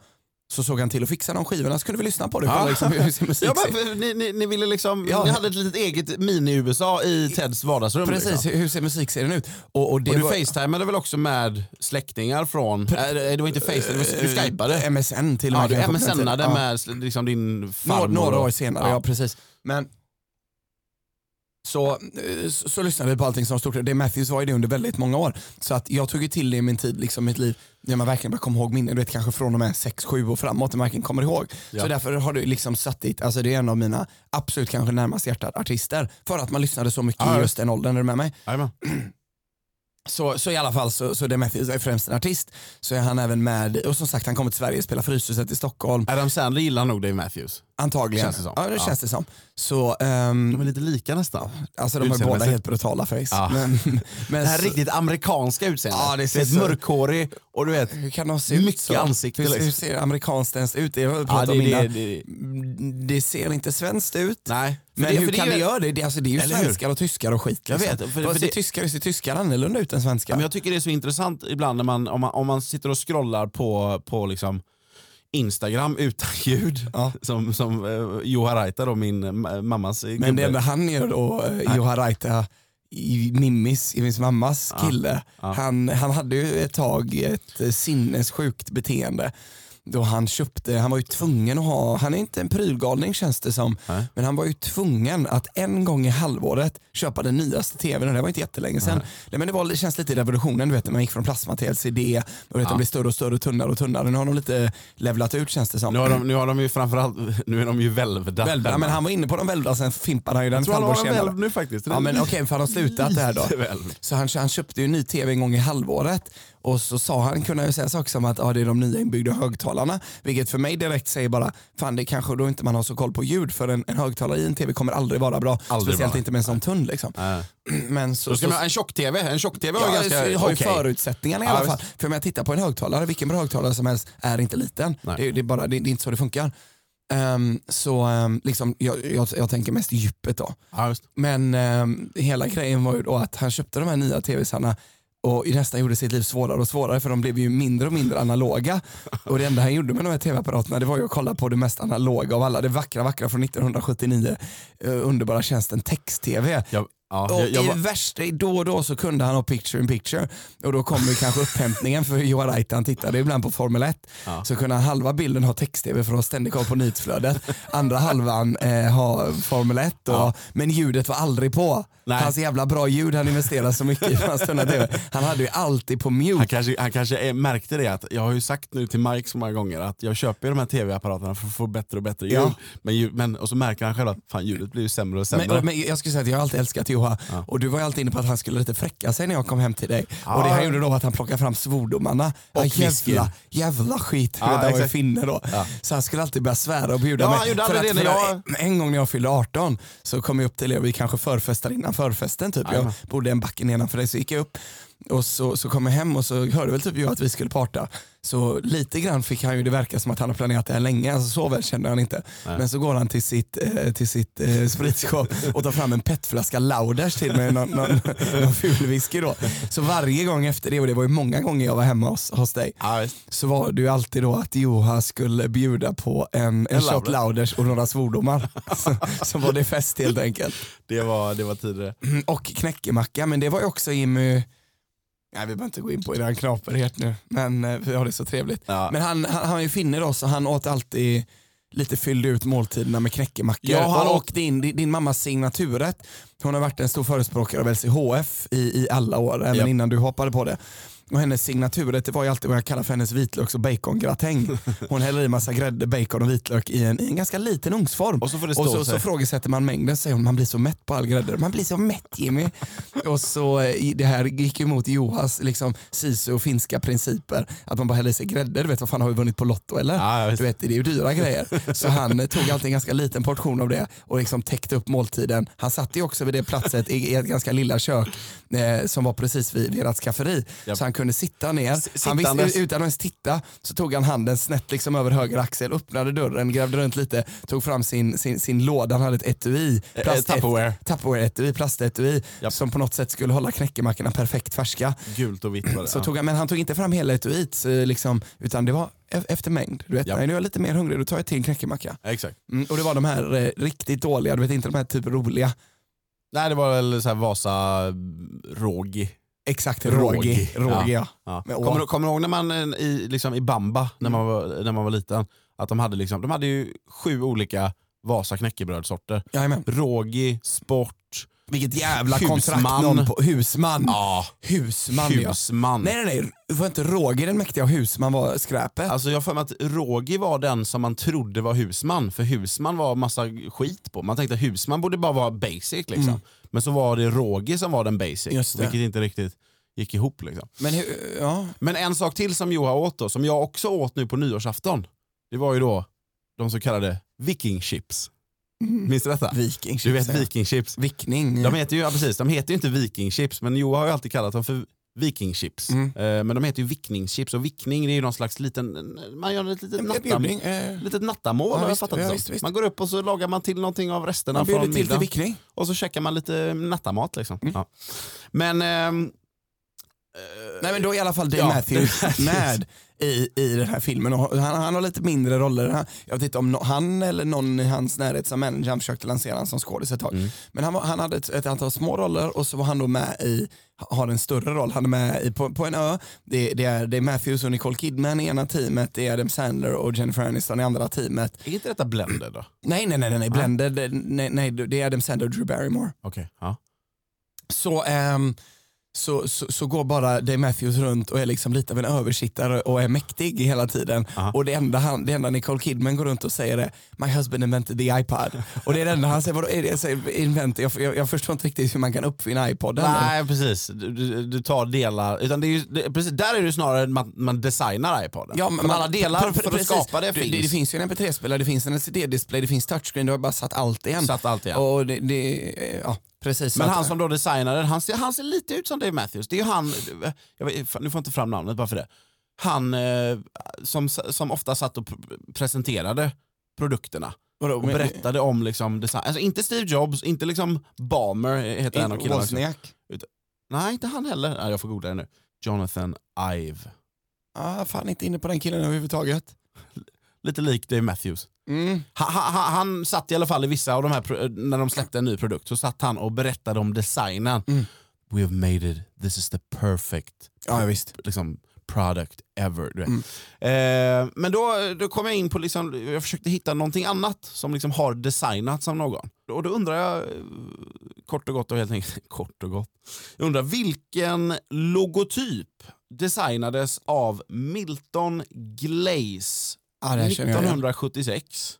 Speaker 2: så såg han till att fixa de skivorna så kunde vi lyssna på det. och
Speaker 1: Ja.
Speaker 2: Kolla liksom hur sin musik
Speaker 1: Ja,
Speaker 2: ser-
Speaker 1: men, för ni, ni, ni, ville liksom,
Speaker 2: Ja.
Speaker 1: ni hade ett litet eget mini-USA i Teds vardagsrum.
Speaker 2: Precis,
Speaker 1: Liksom.
Speaker 2: hur hur ser musikserien ut? Och, och det
Speaker 1: Och du
Speaker 2: var-
Speaker 1: facetimade väl också med släktingar från, äh, det var inte face, det var, du skypade.
Speaker 2: Eh, MSN till och
Speaker 1: Ja,
Speaker 2: med.
Speaker 1: du
Speaker 2: kanske på den tiden.
Speaker 1: msnade
Speaker 2: Ja.
Speaker 1: med sl- liksom, din
Speaker 2: Några,
Speaker 1: farmor.
Speaker 2: några
Speaker 1: och-
Speaker 2: år senare, ja,
Speaker 1: Ja.
Speaker 2: precis. Men så, eh, så, så lyssnade vi på allting som stod Det Matthews var ju det under väldigt många år. Så att jag tog ju till det i min tid, liksom mitt liv, när man verkligen bara kom ihåg minnen. Du vet kanske från och med 6-7 och framåt, när man verkligen kommer ihåg.
Speaker 1: Ja.
Speaker 2: Så därför har du liksom satt dit, alltså det är en av mina absolut kanske närmast hjärtat artister. För att man lyssnade så mycket
Speaker 1: Ja,
Speaker 2: i
Speaker 1: ja.
Speaker 2: just den åldern, är du med mig?
Speaker 1: Jajamän.
Speaker 2: Så, så i alla fall så, så The Matthews är främst en artist. Så är han även med, och som sagt han kommer till Sverige och spelar Fryshuset i Stockholm.
Speaker 1: Adam Sandler gillar nog Dave Matthews.
Speaker 2: Antagligen.
Speaker 1: Känns det som.
Speaker 2: Ja, det
Speaker 1: Ja.
Speaker 2: känns det som. Så, ehm,
Speaker 1: De är lite lika nästan.
Speaker 2: Alltså de är
Speaker 1: Utseendemässigt.
Speaker 2: båda helt brutala face.
Speaker 1: Ja.
Speaker 2: Men,
Speaker 1: (laughs)
Speaker 2: men
Speaker 1: Det här
Speaker 2: så-
Speaker 1: riktigt amerikanska utseendet.
Speaker 2: Ja, det ser
Speaker 1: är ett
Speaker 2: så-
Speaker 1: mörkhårig och du vet,
Speaker 2: hur kan de se ut
Speaker 1: Mycket
Speaker 2: så?
Speaker 1: ansikte,
Speaker 2: Hur,
Speaker 1: liksom.
Speaker 2: hur ser amerikanskt ens ut? Det, jag
Speaker 1: ja,
Speaker 2: pratade
Speaker 1: det,
Speaker 2: om
Speaker 1: det,
Speaker 2: innan.
Speaker 1: det,
Speaker 2: det ser inte svenskt ut.
Speaker 1: nej. För
Speaker 2: Men
Speaker 1: det-
Speaker 2: hur
Speaker 1: för det
Speaker 2: kan
Speaker 1: är
Speaker 2: det
Speaker 1: ju-
Speaker 2: göra det? det? Alltså, det är ju
Speaker 1: Eller hur?
Speaker 2: svenskar och tyskar och skit.
Speaker 1: Jag
Speaker 2: Liksom.
Speaker 1: vet, för-
Speaker 2: Vad
Speaker 1: för
Speaker 2: ser
Speaker 1: det-
Speaker 2: tyskar, ser tyskar annorlunda ut än svenskar?
Speaker 1: Ja, Men jag tycker det är så intressant ibland när man, om man, om man sitter och scrollar på, på liksom Instagram utan (laughs) ljud.
Speaker 2: Ja.
Speaker 1: Som, som eh, Juha Raita då, min eh, mammas eh,
Speaker 2: Men det
Speaker 1: gubbe.
Speaker 2: enda han gör då, eh, Juha Raita, i Mimmis, i min mammas kille, Han, han hade ju ett tag ett eh, sinnessjukt beteende. Då han köpte, han var ju tvungen att ha, han är inte en prylgalning känns det som,
Speaker 1: Nej.
Speaker 2: men han var ju tvungen att en gång i halvåret köpa den nyaste tvn och det var inte jättelänge sedan. Nej, men det, var, det känns lite i revolutionen, du vet när man gick från plasma till LCD och du vet, de blev större och större och tunnare och tunnare. Nu har de lite levlat ut känns det som.
Speaker 1: Nu har, de, nu har de ju framförallt, nu är de ju välvda.
Speaker 2: Välvda, men han var inne på de välvda sen fimpade han ju
Speaker 1: jag
Speaker 2: den
Speaker 1: tror han
Speaker 2: ett halvår
Speaker 1: har en
Speaker 2: senare.
Speaker 1: välv nu faktiskt.
Speaker 2: Ja men okej, för han har slutat det här då.
Speaker 1: Lite välvd.
Speaker 2: Så han, han köpte ju en ny tv en gång i halvåret och så sa han, kunde han ju säga saker som att ah, det är de nya inbyggda högtalarna. Vilket för mig direkt säger bara, fan det kanske då inte man har så koll på ljud för en, en högtalare i en tv kommer aldrig vara bra.
Speaker 1: Aldrig
Speaker 2: speciellt
Speaker 1: vara.
Speaker 2: inte med en sån tunn liksom.
Speaker 1: Nej.
Speaker 2: (clears throat) Men så,
Speaker 1: Då ska
Speaker 2: så-
Speaker 1: man ha en tjock-tv. En tjock-tv
Speaker 2: Ja,
Speaker 1: var ganska
Speaker 2: så har ju
Speaker 1: okej.
Speaker 2: förutsättningarna i
Speaker 1: Ja,
Speaker 2: alla
Speaker 1: visst.
Speaker 2: fall. För om jag tittar på en högtalare, vilken bra högtalare som helst är inte liten.
Speaker 1: Nej.
Speaker 2: Det, är- det, är bara, det, det är inte så det funkar. Ehm, så ehm, liksom, jag, jag, jag tänker mest djupet då.
Speaker 1: Ja, just.
Speaker 2: Men ehm, hela grejen var ju då att han köpte de här nya tv-sarna och nästan gjorde sitt liv svårare och svårare för de blev ju mindre och mindre analoga. Och det enda han gjorde med de här tv-apparaterna det var ju att kolla på det mest analoga av alla, det vackra vackra från 1979, eh, underbara tjänsten text-tv.
Speaker 1: Jag, ja,
Speaker 2: Och
Speaker 1: jag, jag,
Speaker 2: i
Speaker 1: var-
Speaker 2: värsta, då och då så kunde han ha picture in picture och då kom ju kanske upphämtningen för Johan Reit, han tittade ibland på Formel 1.
Speaker 1: Ja.
Speaker 2: Så kunde han halva bilden ha text-tv för att ha ständig koll på nyhetsflödet. Andra halvan eh, ha Formel 1 och,
Speaker 1: Ja.
Speaker 2: men ljudet var aldrig på.
Speaker 1: Nej.
Speaker 2: Hans jävla bra ljud han investerade så mycket i för hans tunna tv. Han hade ju alltid på mute.
Speaker 1: han kanske, han kanske eh, märkte det att jag har ju sagt nu till Mike så många gånger att jag köper ju de här tv-apparaterna för att få bättre och bättre ljud.
Speaker 2: Ja.
Speaker 1: Men, ljud- men, och så märker han själv att fan, ljudet blir ju sämre och sämre.
Speaker 2: Men, men jag skulle säga att jag har alltid älskat Johan och du var ju alltid inne på att han skulle lite fräcka sig när jag kom hem till dig. Och det han gjorde då var att han plockade fram svordomarna.
Speaker 1: Och
Speaker 2: Ja,
Speaker 1: whisky.
Speaker 2: jävla, jävla skit.
Speaker 1: Ja,
Speaker 2: Ja, han var ju
Speaker 1: exakt.
Speaker 2: finne då. Så han skulle alltid börja svära och bjuda
Speaker 1: Ja,
Speaker 2: mig.
Speaker 1: han gjorde
Speaker 2: För
Speaker 1: aldrig
Speaker 2: att-
Speaker 1: det när
Speaker 2: för att- En gång när jag fyllde 18 så kom jag upp till er och vi kanske förfestade innan förfesten. Typ. Jag
Speaker 1: Jajamän.
Speaker 2: bodde en backen nedanför dig så gick jag upp och så, så kom jag hem och så hörde väl typ jag att vi skulle parta. Så lite grann fick han ju det verka som att han har planerat det här länge, alltså så väl kände han inte. Men så går han till sitt, eh, till sitt eh, spritskåp och tar fram en petflaska Lauders till mig, någon, någon, (laughs) någon ful whisky då. Så varje gång efter det, och det var ju många gånger jag var hemma hos, hos dig,
Speaker 1: Ja, visst.
Speaker 2: så var det ju alltid då att Johan skulle bjuda på en, en shot
Speaker 1: Lauder.
Speaker 2: Lauders och några svordomar. (laughs) så, så var det fest helt enkelt.
Speaker 1: det, var, det var tidigare.
Speaker 2: Mm, Och knäckemacka, men det var ju också Jimmy, nej vi behöver inte gå in på eran knaperhet nu, men eh, vi har det så trevligt.
Speaker 1: Ja.
Speaker 2: Men han, han, han är ju finne då, så han åt alltid lite fyllde ut måltiderna med knäckemackor.
Speaker 1: Ja, han
Speaker 2: och
Speaker 1: åt-
Speaker 2: din, din, din mammas signaturrätt, hon har varit en stor förespråkare av LCHF i, i alla år, även
Speaker 1: Japp.
Speaker 2: innan du hoppade på det. Och hennes signaturrätt det var ju alltid vad jag kallar för hennes vitlöks och (laughs) bacongratäng. Hon häller i massa grädde, bacon och vitlök i en, i en ganska liten ugnsform.
Speaker 1: Och så får det stå
Speaker 2: Och så,
Speaker 1: sig.
Speaker 2: så frågesätter man mängden, säger hon, man blir så mätt på all grädde. Man blir så mätt Jimmy. och så eh, i- det här gick emot Johas liksom, sisu och finska principer. Att man bara häller i sig grädde, du vet vad fan har vi vunnit på Lotto eller?
Speaker 1: Ja, visst.
Speaker 2: du vet, det är ju dyra grejer. Så han eh, tog alltid en ganska liten portion av det och liksom täckte upp måltiden. Han satt ju också vid det platset i i ett ganska lilla kök eh, som var precis vid, vid ert skafferi.
Speaker 1: Japp.
Speaker 2: Så han kunde sitta ner.
Speaker 1: S-
Speaker 2: han visste,
Speaker 1: sittandes.
Speaker 2: utan att ens titta så tog han handen snett liksom över höger axel, öppnade dörren, grävde runt lite, tog fram sin, sin, sin låda, han hade ett etui.
Speaker 1: Eh,
Speaker 2: plast-
Speaker 1: Tupperware.
Speaker 2: Tupperware-etui, plastetui
Speaker 1: Japp.
Speaker 2: som på något sätt skulle hålla knäckemackorna perfekt färska.
Speaker 1: Gult och vitt var det.
Speaker 2: Så
Speaker 1: ja.
Speaker 2: tog han, men han tog inte fram hela etuiet eh, liksom, utan det var e- efter mängd. Du vet,
Speaker 1: Japp.
Speaker 2: nej, nu är jag lite mer hungrig, då tar jag till en knäckemacka.
Speaker 1: Exakt.
Speaker 2: Mm, och det var de här eh, riktigt dåliga, du vet inte de här typ roliga.
Speaker 1: Nej det var väl så här Vasa mm, Rågi.
Speaker 2: Exakt,
Speaker 1: Rågi.
Speaker 2: rågi. Rågi ja.
Speaker 1: Ja.
Speaker 2: Med å.
Speaker 1: Kommer, du, kommer du ihåg när man eh, i, liksom, i Bamba, när man, var, när man var liten, att de hade, liksom, de hade ju sju olika Vasa knäckebrödsorter.
Speaker 2: Jajamän.
Speaker 1: Rågi, sport,
Speaker 2: Vilket jävla
Speaker 1: Husman.
Speaker 2: kontrakt någon på. Husman.
Speaker 1: ja,
Speaker 2: Husman ja.
Speaker 1: husman.
Speaker 2: Nej nej nej, det var inte rågi den mäktiga och husman var skräpet.
Speaker 1: Alltså jag har för mig att Rågi var den som man trodde var husman, för husman var massa skit på. Man tänkte att husman borde bara vara basic liksom.
Speaker 2: Mm.
Speaker 1: Men så var det Rågi som var den basic,
Speaker 2: Just det.
Speaker 1: vilket inte riktigt gick ihop. Liksom.
Speaker 2: Men hu- ja.
Speaker 1: Men en sak till som Johan åt då, som jag också åt nu på nyårsafton, det var ju då de så kallade vikingchips.
Speaker 2: Mm.
Speaker 1: Minns du detta?
Speaker 2: Viking.
Speaker 1: Du vet
Speaker 2: säger jag.
Speaker 1: vikingchips?
Speaker 2: Vickning.
Speaker 1: De heter ju, ja, precis, de heter ju inte vikingchips, men Johan har ju alltid kallat dem för vikingchips.
Speaker 2: Mm.
Speaker 1: Eh, men de heter ju vickningschips och vickning det är ju någon slags liten, man gör ett litet
Speaker 2: En
Speaker 1: nattam,
Speaker 2: bjudning. eh,
Speaker 1: litet nattamål
Speaker 2: Ja,
Speaker 1: har jag
Speaker 2: visst,
Speaker 1: fattat det
Speaker 2: ja,
Speaker 1: som.
Speaker 2: visst, visst.
Speaker 1: Man går upp och så lagar man till någonting av resterna
Speaker 2: Man bjuder
Speaker 1: från
Speaker 2: till till
Speaker 1: middagen
Speaker 2: vickning.
Speaker 1: och så käkar man lite nattamat. Liksom.
Speaker 2: Mm.
Speaker 1: Ja. Men ehm,
Speaker 2: Nej men då är i alla fall Dave
Speaker 1: Ja,
Speaker 2: Matthews
Speaker 1: Dave Matthews.
Speaker 2: med i, i den här filmen och han, han har lite mindre roller. Han, jag vet inte om no, han eller någon i hans närhet som manager han försökte lansera han som skådis ett tag.
Speaker 1: Mm.
Speaker 2: Men han, var, han hade ett, ett antal små roller och så var han då med i, har en större roll, han är med i, på, på en ö. Det, det är Dave Matthews och Nicole Kidman i ena teamet, det är Adam Sandler och Jennifer Aniston i andra teamet.
Speaker 1: är inte detta Blender då?
Speaker 2: Nej nej nej, nej,
Speaker 1: Ah.
Speaker 2: nej. Blended, eh, nej, nej det är Adam Sandler och Drew Barrymore.
Speaker 1: Okej. Ja.
Speaker 2: så, ehm, så, så, så går bara Dave Matthews runt och är liksom lite av en översittare och är mäktig hela tiden.
Speaker 1: Aha.
Speaker 2: Och det enda, han, det enda Nicole Kidman går runt och säger är My husband invented the iPad. Och det är det enda han säger, vadå är det? Jag, säger, invent, jag, jag, jag förstår inte riktigt hur man kan uppfinna iPoden.
Speaker 1: Nej precis, du, du, du tar delar. Utan det är ju, det, precis, där är det ju snarare att man, man designar iPoden.
Speaker 2: Ja,
Speaker 1: men, alla delar
Speaker 2: pre- pre-
Speaker 1: för att
Speaker 2: precis.
Speaker 1: skapa det
Speaker 2: Du-
Speaker 1: finns.
Speaker 2: Det, det finns ju en mp3-spelare, det finns en LCD-display, det finns touchscreen, du har bara satt allt i en.
Speaker 1: Satt allt i en.
Speaker 2: Och det, det, eh, ja, precis.
Speaker 1: men
Speaker 2: Så
Speaker 1: han
Speaker 2: att-
Speaker 1: som då designade den, han ser, han ser lite ut som Dave Matthews. Det är ju han, jag vet, fan, nu får jag inte fram namnet bara för det. Han eh, som, som ofta satt och pr- presenterade produkterna
Speaker 2: vadå,
Speaker 1: och
Speaker 2: men-
Speaker 1: berättade om liksom design. Alltså inte Steve Jobs, inte liksom Balmer eh, heter en av killarna.
Speaker 2: Wozniak.
Speaker 1: Nej, inte han heller. Nej, jag får googla det nu. Jonathan Ive.
Speaker 2: Ah, fan inte inne på den killen överhuvudtaget.
Speaker 1: Lite lik Dave Matthews.
Speaker 2: Mm.
Speaker 1: Han, han, han satt i alla fall i vissa av de här, pro- eh, när de släppte en ny produkt, så satt han och berättade om designen.
Speaker 2: Mm.
Speaker 1: We have made it, this is the perfect
Speaker 2: Ja, visst.
Speaker 1: liksom, product ever. Du vet.
Speaker 2: Mm.
Speaker 1: Eh, men då, då kom jag in på, liksom, jag försökte hitta någonting annat som liksom har designats av någon. Och då undrar jag, eh, kort och gott, och helt enkelt, (laughs) kort och gott. Jag undrar vilken logotyp designades av Milton Glaze
Speaker 2: Ja, det här känner jag igen.
Speaker 1: 1976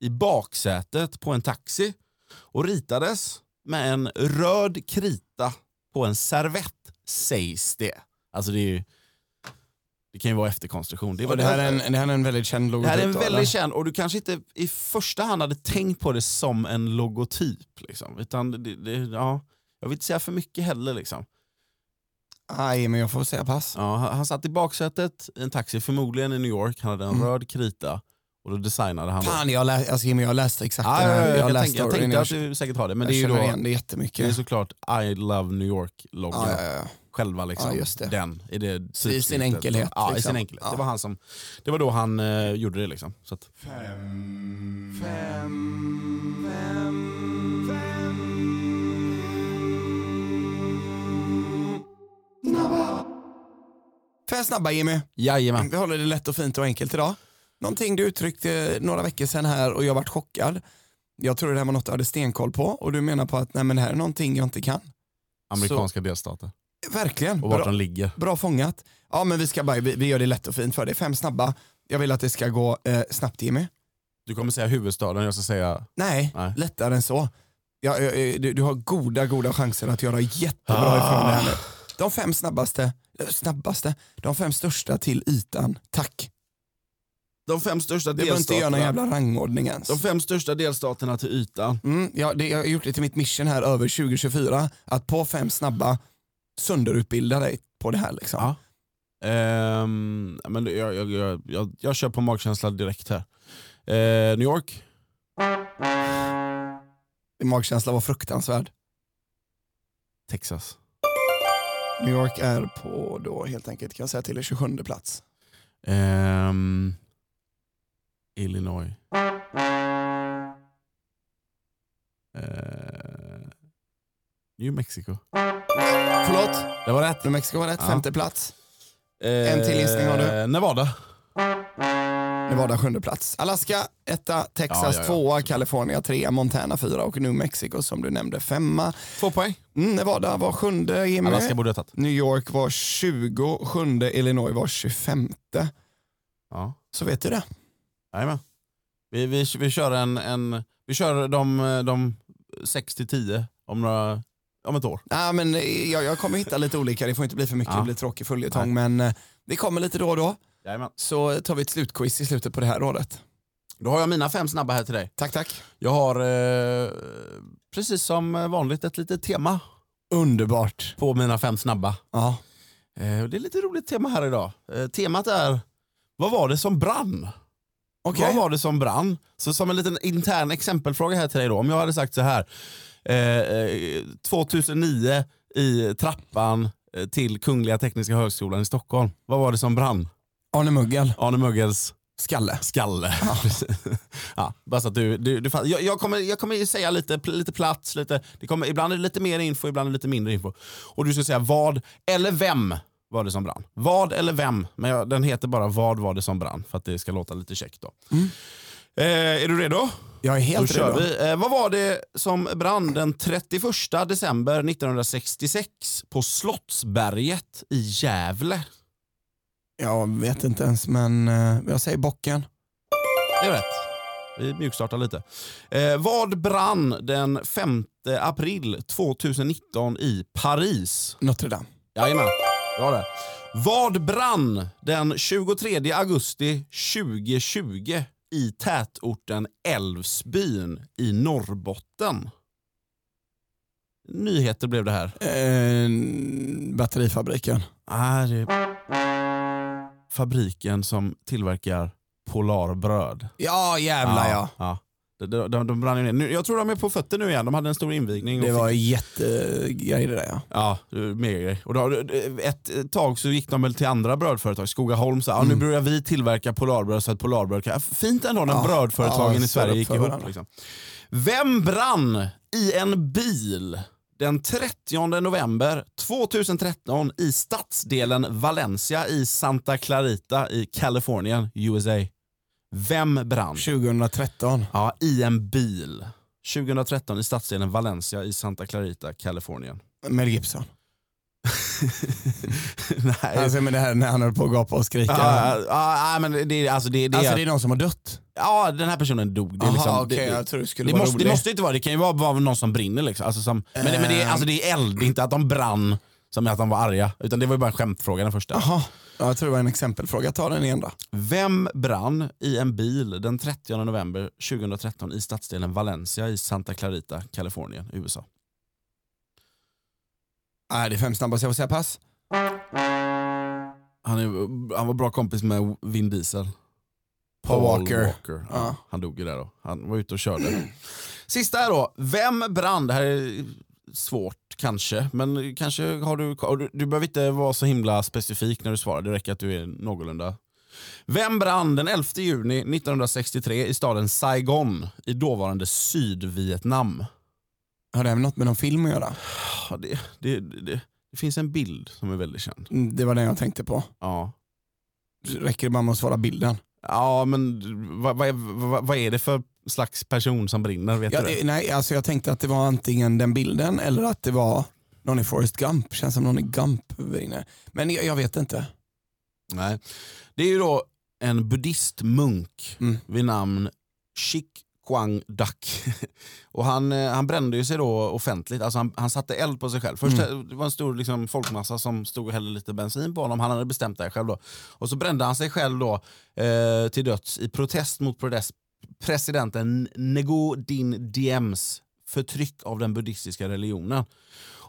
Speaker 1: i baksätet på en taxi och ritades med en röd krita på en servett sägs det. Alltså det är ju, det kan ju vara efterkonstruktion. Det, var
Speaker 2: Och det, här är en, det här är en väldigt känd
Speaker 1: det
Speaker 2: logotyp.
Speaker 1: här är en
Speaker 2: då,
Speaker 1: väldigt
Speaker 2: eller?
Speaker 1: känd, och du kanske inte i första hand hade tänkt på det som en logotyp. Liksom, utan det, det, ja, jag vill inte säga för mycket heller. Liksom.
Speaker 2: Aj, men jag får säga pass.
Speaker 1: Ja, han han satt i baksätet i en taxi, förmodligen i New York. Han hade en
Speaker 2: Mm.
Speaker 1: röd krita och då designade han då-
Speaker 2: Fan, jag, lä- alltså, Jimmy, jag läste exakt
Speaker 1: Ja,
Speaker 2: den
Speaker 1: ja,
Speaker 2: här.
Speaker 1: ja, jag,
Speaker 2: läste
Speaker 1: tänkte, jag
Speaker 2: storyn,
Speaker 1: tänkte
Speaker 2: jag
Speaker 1: att du säkert har det, men
Speaker 2: jag
Speaker 1: det är ju
Speaker 2: känner
Speaker 1: då,
Speaker 2: igen det
Speaker 1: det är
Speaker 2: jättemycket.
Speaker 1: såklart I love New York-loggan.
Speaker 2: Ja, ja, ja.
Speaker 1: Själva liksom.
Speaker 2: Ja, just det.
Speaker 1: Den, i, det typsnittet.
Speaker 2: enkelhet,
Speaker 1: Ja, i
Speaker 2: liksom.
Speaker 1: sin enkelhet.
Speaker 2: Ja.
Speaker 1: Det, var han som, det var då han eh, gjorde det liksom. Så att,
Speaker 2: Fem snabba Jimmy.
Speaker 1: jajamän.
Speaker 2: Vi håller det lätt och fint och enkelt idag. Någonting du uttryckte några veckor sedan här och jag varit chockad. Jag tror det här var något du hade stenkoll på och du menar på att nej, men det här är någonting jag inte kan.
Speaker 1: Amerikanska delstater.
Speaker 2: Verkligen.
Speaker 1: Och vart
Speaker 2: Bra.
Speaker 1: de ligger.
Speaker 2: Bra fångat. Ja men vi, ska bara, vi, vi gör det lätt och fint för dig. Fem snabba. Jag vill att det ska gå eh, snabbt Jimmy.
Speaker 1: Du kommer säga huvudstaden, jag ska säga...
Speaker 2: Nej,
Speaker 1: Nej.
Speaker 2: lättare än så. Ja, ja, ja, du, du har goda, goda chanser att göra jättebra
Speaker 1: Ah.
Speaker 2: ifrån dig här nu. De fem snabbaste, eh, snabbaste, de fem största till ytan. Tack.
Speaker 1: De fem största
Speaker 2: Du behöver inte göra någon jävla rangordning ens.
Speaker 1: De fem största delstaterna till ytan.
Speaker 2: Mm, ja, det, jag har gjort det till mitt mission här över 2024, att på fem snabba sönderutbilda dig på det här. Liksom.
Speaker 1: Ja. Ehm, men det- jag, jag, jag, jag, jag kör på magkänsla direkt här. Eh, New York?
Speaker 2: Din magkänsla var fruktansvärd.
Speaker 1: Texas.
Speaker 2: New York är på då helt enkelt, kan jag säga till er, 27 plats.
Speaker 1: Ehm, Illinois. Eh, New Mexico.
Speaker 2: Förlåt?
Speaker 1: Det var rätt.
Speaker 2: New Mexico var rätt,
Speaker 1: Ja.
Speaker 2: femte plats. En till gissning har du.
Speaker 1: Eh, Nevada.
Speaker 2: Nevada sjunde plats. Alaska etta, Texas
Speaker 1: Ja, ja, ja.
Speaker 2: tvåa, California trea, Montana fyra och New Mexico som du nämnde femma.
Speaker 1: Två poäng.
Speaker 2: Mm, Nevada var sjunde, Jimmy.
Speaker 1: Alaska borde ha tagit.
Speaker 2: New York var 27, Illinois var 25.
Speaker 1: Ja.
Speaker 2: Så vet du det.
Speaker 1: Jajamän. Vi, vi, vi kör, en, en, vi kör de, de 6-10 om, några- om ett år.
Speaker 2: Nej, men eh, jag, jag kommer hitta lite olika, det får inte bli för mycket,
Speaker 1: Ja.
Speaker 2: det blir tråkig följetong. Men eh, det kommer lite då och då.
Speaker 1: Jajamän.
Speaker 2: Så tar vi ett slutquiz i slutet på det här året.
Speaker 1: Då har jag mina fem snabba här till dig.
Speaker 2: Tack, tack.
Speaker 1: Jag har eh, precis som vanligt ett litet tema
Speaker 2: Underbart.
Speaker 1: på mina fem snabba.
Speaker 2: Ja.
Speaker 1: Eh, och det är lite roligt tema här idag. Eh, temat är vad var det som brann? Vad
Speaker 2: Okej.
Speaker 1: var det som brann? Så som en liten intern exempelfråga här till dig då. Om jag hade sagt så här. Eh, eh, 2009 i trappan eh, till Kungliga Tekniska Högskolan i Stockholm. Vad var det som brann?
Speaker 2: Arne Muggel.
Speaker 1: Arne Muggels
Speaker 2: Skalle.
Speaker 1: skalle. Ja. (laughs) bara så att du, du, du fatt- jag, jag, kommer, jag kommer säga lite, pl- lite plats, lite, det kommer, ibland är det lite mer info, ibland är det lite mindre info. Och du ska säga vad eller vem var det som brann. Vad eller vem, men jag, den heter bara vad var det som brann för att det ska låta lite käckt. Då. Eh, är du redo?
Speaker 2: Jag är Mm. helt
Speaker 1: Då kör
Speaker 2: redo.
Speaker 1: vi. Eh, vad var det som brann den 31 december 1966 på Slottsberget i Gävle?
Speaker 2: Jag vet inte ens, men eh, jag säger bocken.
Speaker 1: Det är rätt. Vi mjukstartar lite. Eh, vad brann den 5 april 2019 i Paris?
Speaker 2: Notre Dame.
Speaker 1: Jajamän, bra det. Vad brann den 23 augusti 2020 i tätorten Älvsbyn i Norrbotten? Nyheter blev det här.
Speaker 2: Eh, batterifabriken.
Speaker 1: Ah, det är fabriken som tillverkar Polarbröd.
Speaker 2: Ja, jävlar ja.
Speaker 1: ja. De, de, de brann ju ner. Nu, jag tror de är på fötter nu igen. De hade en stor invigning. och
Speaker 2: Det var
Speaker 1: fick,
Speaker 2: jättegrej det där ja.
Speaker 1: ja, mer Och då, ett tag så gick de väl till andra brödföretag. Skogaholm sa, ja, nu
Speaker 2: Mm.
Speaker 1: börjar vi tillverka Polarbröd så att Polarbröd kan... Fint ändå när
Speaker 2: Ja,
Speaker 1: brödföretagen
Speaker 2: ja,
Speaker 1: i Sverige
Speaker 2: står
Speaker 1: gick
Speaker 2: upp för
Speaker 1: ihop.
Speaker 2: varandra.
Speaker 1: Liksom. Vem brann i en bil den 30 november 2013 i stadsdelen Valencia i Santa Clarita i Kalifornien, USA? Vem brann?
Speaker 2: 2013.
Speaker 1: Ja, i en bil. 2013 i stadsdelen Valencia i Santa Clarita,
Speaker 2: (laughs)
Speaker 1: Kalifornien.
Speaker 2: Mel Gibson.
Speaker 1: Nej.
Speaker 2: Alltså med det här när han höll på att gapa och skrika.
Speaker 1: Ja, ja, ja, men det, det, alltså det, det,
Speaker 2: alltså det är någon som har dött.
Speaker 1: ja, den här personen dog. Det, är liksom,
Speaker 2: Jaha, okej,
Speaker 1: det, det,
Speaker 2: tror det skulle
Speaker 1: det, måste, det måste inte vara, det kan ju vara, vara någon som brinner. Liksom. Alltså som, men det, men det, är- alltså det är eld, det är inte att de brann som att de var arga. Utan det var ju bara en skämtfråga den första.
Speaker 2: Jaha. Ja, jag tror det var en exempelfråga. Ta den igen då.
Speaker 1: Vem brann i en bil den 30 november 2013 i stadsdelen Valencia i Santa Clarita, Kalifornien, USA?
Speaker 2: Nej, det är fem snabba så jag får säga pass.
Speaker 1: Han, är, han var bra kompis med Vin Diesel.
Speaker 2: Paul Walker.
Speaker 1: Ja,
Speaker 2: Ja.
Speaker 1: Han dog ju där då. Han var ute och körde. (clears throat) Sista här då. Vem brann? Det här är svårt kanske. Men kanske har du... har du- Du behöver inte vara så himla specifik när du svarar. Det räcker att du är någorlunda. Vem brann den 11 juni 1963 i staden Saigon i dåvarande Sydvietnam?
Speaker 2: Har det här med något med någon film att göra?
Speaker 1: Ja, Det, det, det, det finns en bild som är väldigt känd.
Speaker 2: Mm, Det var den jag tänkte på.
Speaker 1: Ja.
Speaker 2: Räcker det bara med att svara bilden?
Speaker 1: Ja, men vad, vad, är, vad, vad är det för slags person som brinner? Vet
Speaker 2: Ja,
Speaker 1: du det?
Speaker 2: eh, nej, alltså jag tänkte att det var antingen den bilden eller att det var någon i Forrest Gump. Känns som någon i Gump var inne. Men jag, jag vet inte.
Speaker 1: Nej. Det är ju då en buddhistmunk
Speaker 2: Mm.
Speaker 1: vid namn Shik Quang Dak. (laughs) Och han, eh, han brände ju sig då offentligt, alltså han, han satte eld på sig själv. Först eh, det var en stor liksom, folkmassa som stod och hällde lite bensin på honom, han hade bestämt det här själv då. Och så brände han sig själv då eh, till döds i protest mot prodes- presidenten Nego Din Diems förtryck av den buddhistiska religionen.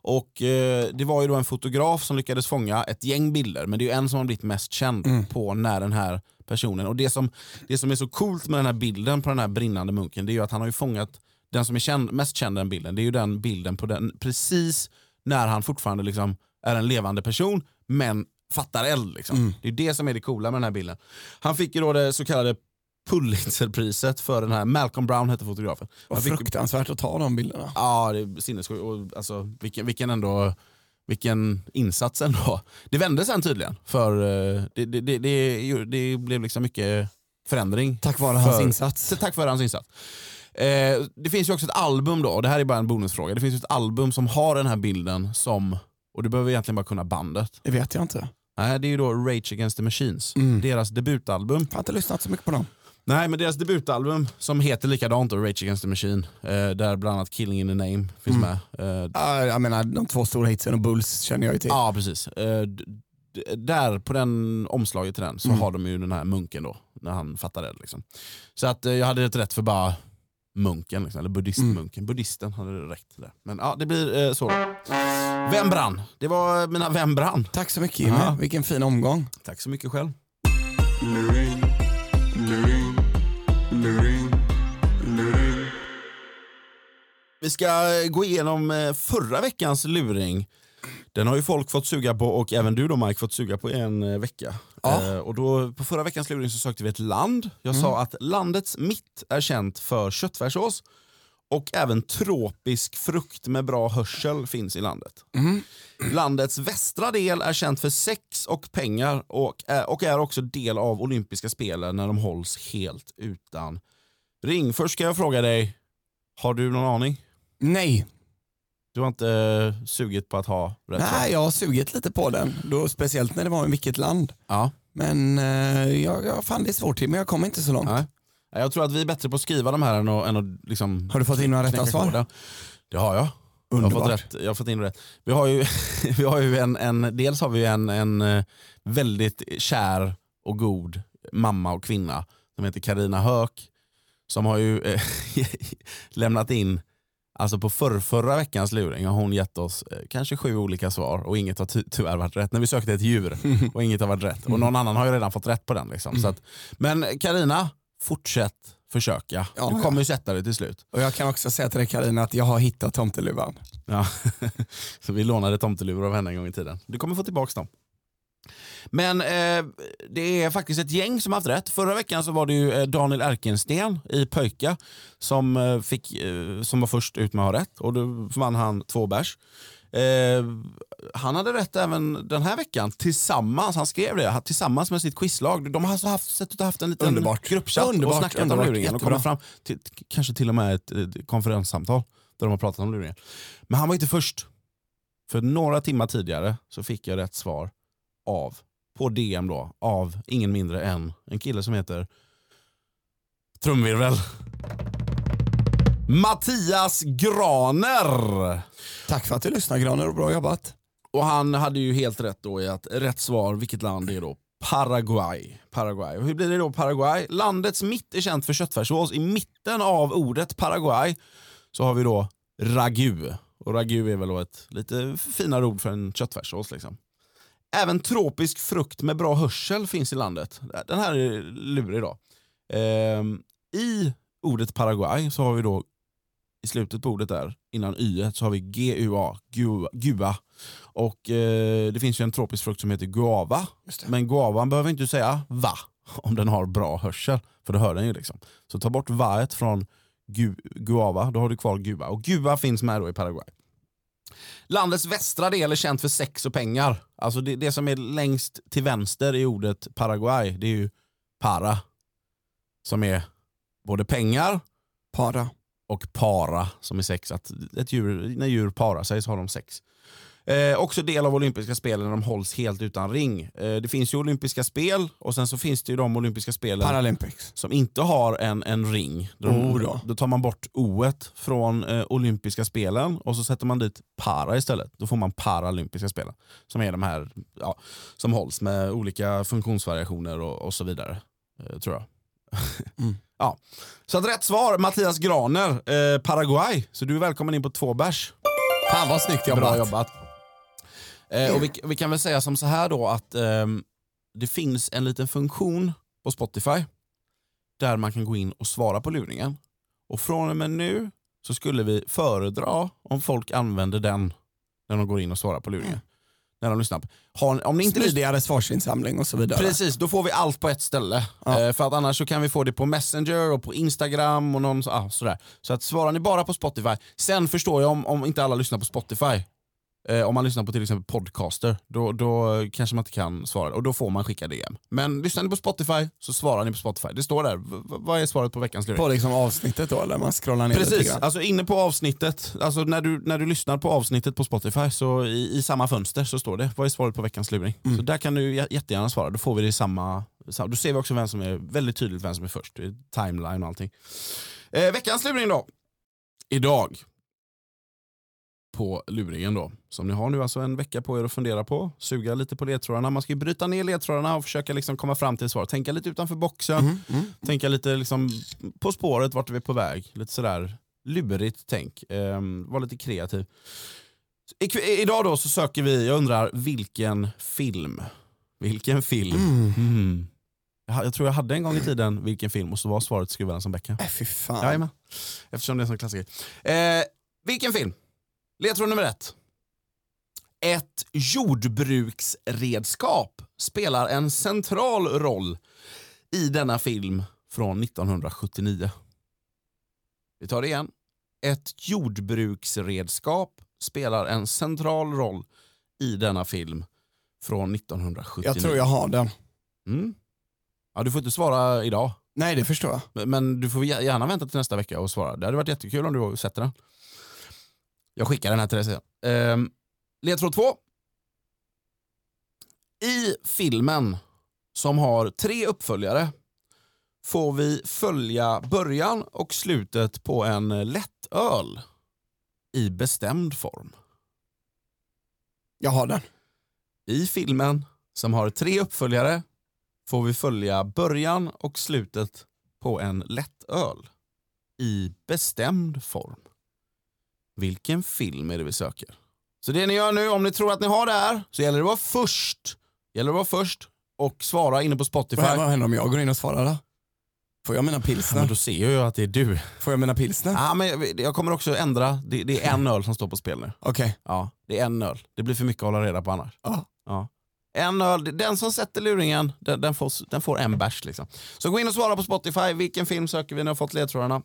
Speaker 1: Och eh, Det var ju då en fotograf som lyckades fånga ett gäng bilder, men det är ju en som har blivit mest känd på när den här personen... Och det som, det som är så coolt med den här bilden på den här brinnande munken, det är ju att han har ju fångat den som är känd, mest känd den bilden, det är ju den bilden på den precis när han fortfarande liksom är en levande person, men fattar eld. Liksom. Det är det som är det coola med den här bilden. Han fick ju då det så kallade Pulitzerpriset för den här, Malcolm Brown hette fotografen. Han
Speaker 2: Vad
Speaker 1: fick,
Speaker 2: fruktansvärt att ta de bilderna.
Speaker 1: ja, det är sinnessjukt. Och, Alltså, vilken, vilken ändå vilken insats ändå. Det vände sen tydligen. För eh, det, det, det, det, det blev liksom mycket förändring
Speaker 2: Tack vare hans
Speaker 1: För-
Speaker 2: insats.
Speaker 1: så tack vare hans insats. Eh, det finns ju också ett album då, och det här är bara en bonusfråga. Det finns ju ett album som har den här bilden som, och du behöver egentligen bara kunna bandet.
Speaker 2: Det vet jag inte.
Speaker 1: Nej, det är ju då Rage Against the Machines.
Speaker 2: Mm.
Speaker 1: Deras debutalbum.
Speaker 2: Jag har inte lyssnat så mycket på dem.
Speaker 1: Nej, men deras debutalbum som heter likadant då, Rage Against the Machine. Eh, där bland annat Killing in the Name finns
Speaker 2: Mm.
Speaker 1: med. Eh,
Speaker 2: Ja, jag menar, de två stora hitsen och Bulls känner jag ju till.
Speaker 1: Ja, precis. Eh, d- d- där på den omslaget till den så har de ju den här munken då, när han fattar det. Liksom. Så att eh, jag hade rätt rätt för bara munken, liksom, eller buddhistmunken. Buddhisten hade rätt där. Men ja, det blir eh, så. då. Vem brann? Det var mina Vem brann?
Speaker 2: Tack så mycket Jimmy,
Speaker 1: Ja.
Speaker 2: vilken fin omgång.
Speaker 1: Tack så mycket själv.
Speaker 3: Luring, luring, luring, luring.
Speaker 1: Vi ska eh, gå igenom eh, förra veckans luring. Den har ju folk fått suga på och även du då Mike fått suga på i en eh, vecka.
Speaker 2: Ja.
Speaker 1: Eh, och då, på förra veckans luring så sökte vi ett land. Jag sa att landets mitt är känt för köttfärssås och även tropisk frukt med bra hörsel finns i landet. Landets västra del är känt för sex och pengar och är, och är också del av olympiska spelen när de hålls helt utan ring. Först ska jag fråga dig, har du någon aning?
Speaker 2: Nej,
Speaker 1: Du har inte eh, sugit på att ha rätt svar?
Speaker 2: Nej jag har sugit lite på den. Då, speciellt när det var i vilket land.
Speaker 1: Ja.
Speaker 2: Men eh, jag, jag fan det är svårt men jag kommer inte så långt.
Speaker 1: Nej. Nej, Jag tror att vi är bättre på att skriva de här än att, än att liksom
Speaker 2: Har du fått in några rätta
Speaker 1: knäcka
Speaker 2: svar?
Speaker 1: koden. Det har jag. Jag har, fått rätt, jag har fått in rätt. Vi har ju, (laughs) vi har ju en, en, dels har vi ju en, en eh, väldigt kär och god mamma och kvinna som heter Karina Höök som har ju eh, (laughs) lämnat in, alltså på förr, förra veckans luring har hon gett oss eh, kanske sju olika svar och inget har ty- tyvärr varit rätt. När vi sökte ett
Speaker 2: (laughs)
Speaker 1: djur och inget har varit rätt. Och någon annan har ju redan fått rätt på den. Liksom. Så att, men Karina, fortsätt försöka.
Speaker 2: Ja,
Speaker 1: du
Speaker 2: ja.
Speaker 1: kommer ju sätta dig till slut.
Speaker 2: Och jag kan också säga till dig Carina att jag har hittat tomteluvan.
Speaker 1: Ja. Så vi lånade tomteluvor av henne en gång i tiden. Du kommer få tillbaka dem. Men eh, det är faktiskt ett gäng som har haft rätt. Förra veckan så var det ju eh, Daniel Erkensten i Pöjka som, eh, fick, eh, som var först ut med att ha rätt och då vann han två bärs. Eh, han hade rätt även den här veckan tillsammans, han skrev det, ha- tillsammans med sitt quizlag. De har alltså haft, sett ut att ha haft en liten
Speaker 2: Underbart.
Speaker 1: gruppchatt och
Speaker 2: Underbart,
Speaker 1: snackat
Speaker 2: underbart,
Speaker 1: om luringen och
Speaker 2: jättebra.
Speaker 1: kommit fram till, k- kanske till och med ett, ett konferenssamtal där de har pratat om luringen. Men han var inte först. För några timmar tidigare så fick jag rätt svar av, på DM då, av ingen mindre än en kille som heter Trumvirvel. Mattias Graner!
Speaker 2: Tack för att du lyssnar Graner och bra jobbat.
Speaker 1: Och han hade ju helt rätt då i att rätt svar, vilket land det är då? Paraguay. Paraguay. Och hur blir det då Paraguay? Landets mitt är känt för köttfärssås. I mitten av ordet Paraguay så har vi då ragu. Och ragu är väl då ett lite finare ord för en köttfärssås liksom. Även tropisk frukt med bra hörsel finns i landet. Den här är lurig då. Ehm, I ordet Paraguay så har vi då i slutet på ordet där, innan y så har vi gua, gua, gua. Och eh, det finns ju en tropisk frukt som heter guava. Men guavan behöver inte säga va (laughs) om den har bra hörsel. För det hör den ju liksom. Så ta bort vaet från gu, guava, då har du kvar gua. Och gua finns med då i Paraguay. Landets västra del är känt för sex och pengar. Alltså det, det som är längst till vänster i ordet Paraguay, det är ju para. Som är både pengar
Speaker 2: Para.
Speaker 1: och para som är sex. Att ett djur, när djur parar sig så har de sex. Eh, också del av olympiska spelen när de hålls helt utan ring. Eh, det finns ju olympiska spel och sen så finns det ju de olympiska spelen
Speaker 2: Paralympics.
Speaker 1: som inte har en, en ring. Då,
Speaker 2: Oh då.
Speaker 1: då tar man bort oet från eh, olympiska spelen och så sätter man dit para istället. Då får man paralympiska spelen som är de här
Speaker 2: (laughs)
Speaker 1: ja, som hålls med olika funktionsvariationer och, och så vidare. Eh, tror jag.
Speaker 2: Mm.
Speaker 1: ja. Så att rätt svar, Mattias Graner, eh, Paraguay. Så du är välkommen in på två bärs.
Speaker 2: Fan vad snyggt
Speaker 1: Bra
Speaker 2: jobbat.
Speaker 1: jobbat. Eh, och vi, vi kan väl säga som så här då att ehm, det finns en liten funktion på Spotify där man kan gå in och svara på luringen. Och från och med nu så skulle vi föredra om folk använder den när de går in och svarar på luringen. När de lyssnar. på- Har, om ni inte lyssnar,
Speaker 2: Smidigare svarsinsamling och så vidare.
Speaker 1: Precis, då får vi allt på ett ställe. Eh, för att annars så kan vi få det på Messenger och på Instagram och någon, så- ah, sådär. Så att svarar ni bara på Spotify. Sen förstår jag om, om inte alla lyssnar på Spotify. Eh, om man lyssnar på till exempel podcaster, då, då kanske man inte kan svara och då får man skicka DM. Men lyssnar ni på Spotify så svarar ni på Spotify. Det står där, v- v- vad är svaret på veckans luring?
Speaker 2: På liksom avsnittet då, eller man scrollar ner lite
Speaker 1: Precis,
Speaker 2: grann.
Speaker 1: alltså inne på avsnittet, alltså när du, när du lyssnar på avsnittet på Spotify så i, i samma fönster så står det vad är svaret på veckans luring.
Speaker 2: Mm.
Speaker 1: Så där kan du jä- jättegärna svara, då får vi det i samma, sam- då ser vi också vem som är väldigt tydligt vem som är först, Det är timeline och allting. Eh, veckans luring då. Idag på luringen då, som ni har nu alltså en vecka på er att fundera på, suga lite på ledtrådarna. Man ska ju bryta ner ledtrådarna och försöka liksom komma fram till svar, tänka lite utanför boxen.
Speaker 2: Mm.
Speaker 1: Tänka lite liksom på spåret, vart är vi på väg? Lite sådär lurigt tänk. Ehm, var lite kreativ. I, i- idag då så söker vi, jag undrar vilken film? Vilken film? Mm. Jag, ha- jag tror jag hade en gång i tiden vilken film och så var svaret Skruvarna som Becka.
Speaker 2: Äh, fy fan.
Speaker 1: Jajamän. Eftersom det är en sån klassiker. Eh, vilken film? Ledtråd nummer ett. Ett jordbruksredskap spelar en central roll i denna film från 1979. Vi tar det igen. Ett jordbruksredskap spelar en central roll i denna film från 1979.
Speaker 2: jag tror jag har den.
Speaker 1: Mm. Ja, du får inte svara idag.
Speaker 2: Nej, det förstår jag.
Speaker 1: Men- Men du får gär- gärna vänta till nästa vecka och svara. Det hade varit jättekul om du sätter den. Jag skickar den här till dig sen. Ehm, ledtråd två. I filmen som har tre uppföljare får vi följa början och slutet på en eh, lättöl i bestämd form.
Speaker 2: Jag har den.
Speaker 1: I filmen som har tre uppföljare får vi följa början och slutet på en lättöl i bestämd form. Vilken film är det vi söker? Så det ni gör nu, om ni tror att ni har det här, så gäller det att vara först. Gäller det att vara först och svara inne på Spotify.
Speaker 2: Vad händer- vad händer om jag går in och svarar då? Får jag mina
Speaker 1: Ja, men
Speaker 2: pilsner?
Speaker 1: då ser jag ju att det är du.
Speaker 2: Får jag mina pilsner?
Speaker 1: Ja, men jag- jag kommer också ändra, det, det är en öl som står på spel nu.
Speaker 2: Okej.
Speaker 1: Ja, det är en öl. Det blir för mycket att hålla reda på annars.
Speaker 2: Ja.
Speaker 1: Ja. En öl, den som sätter luringen, den, den, får, den får en bärs. Liksom. Så gå in och svara på Spotify, vilken film söker vi? Ni har fått ledtrådarna.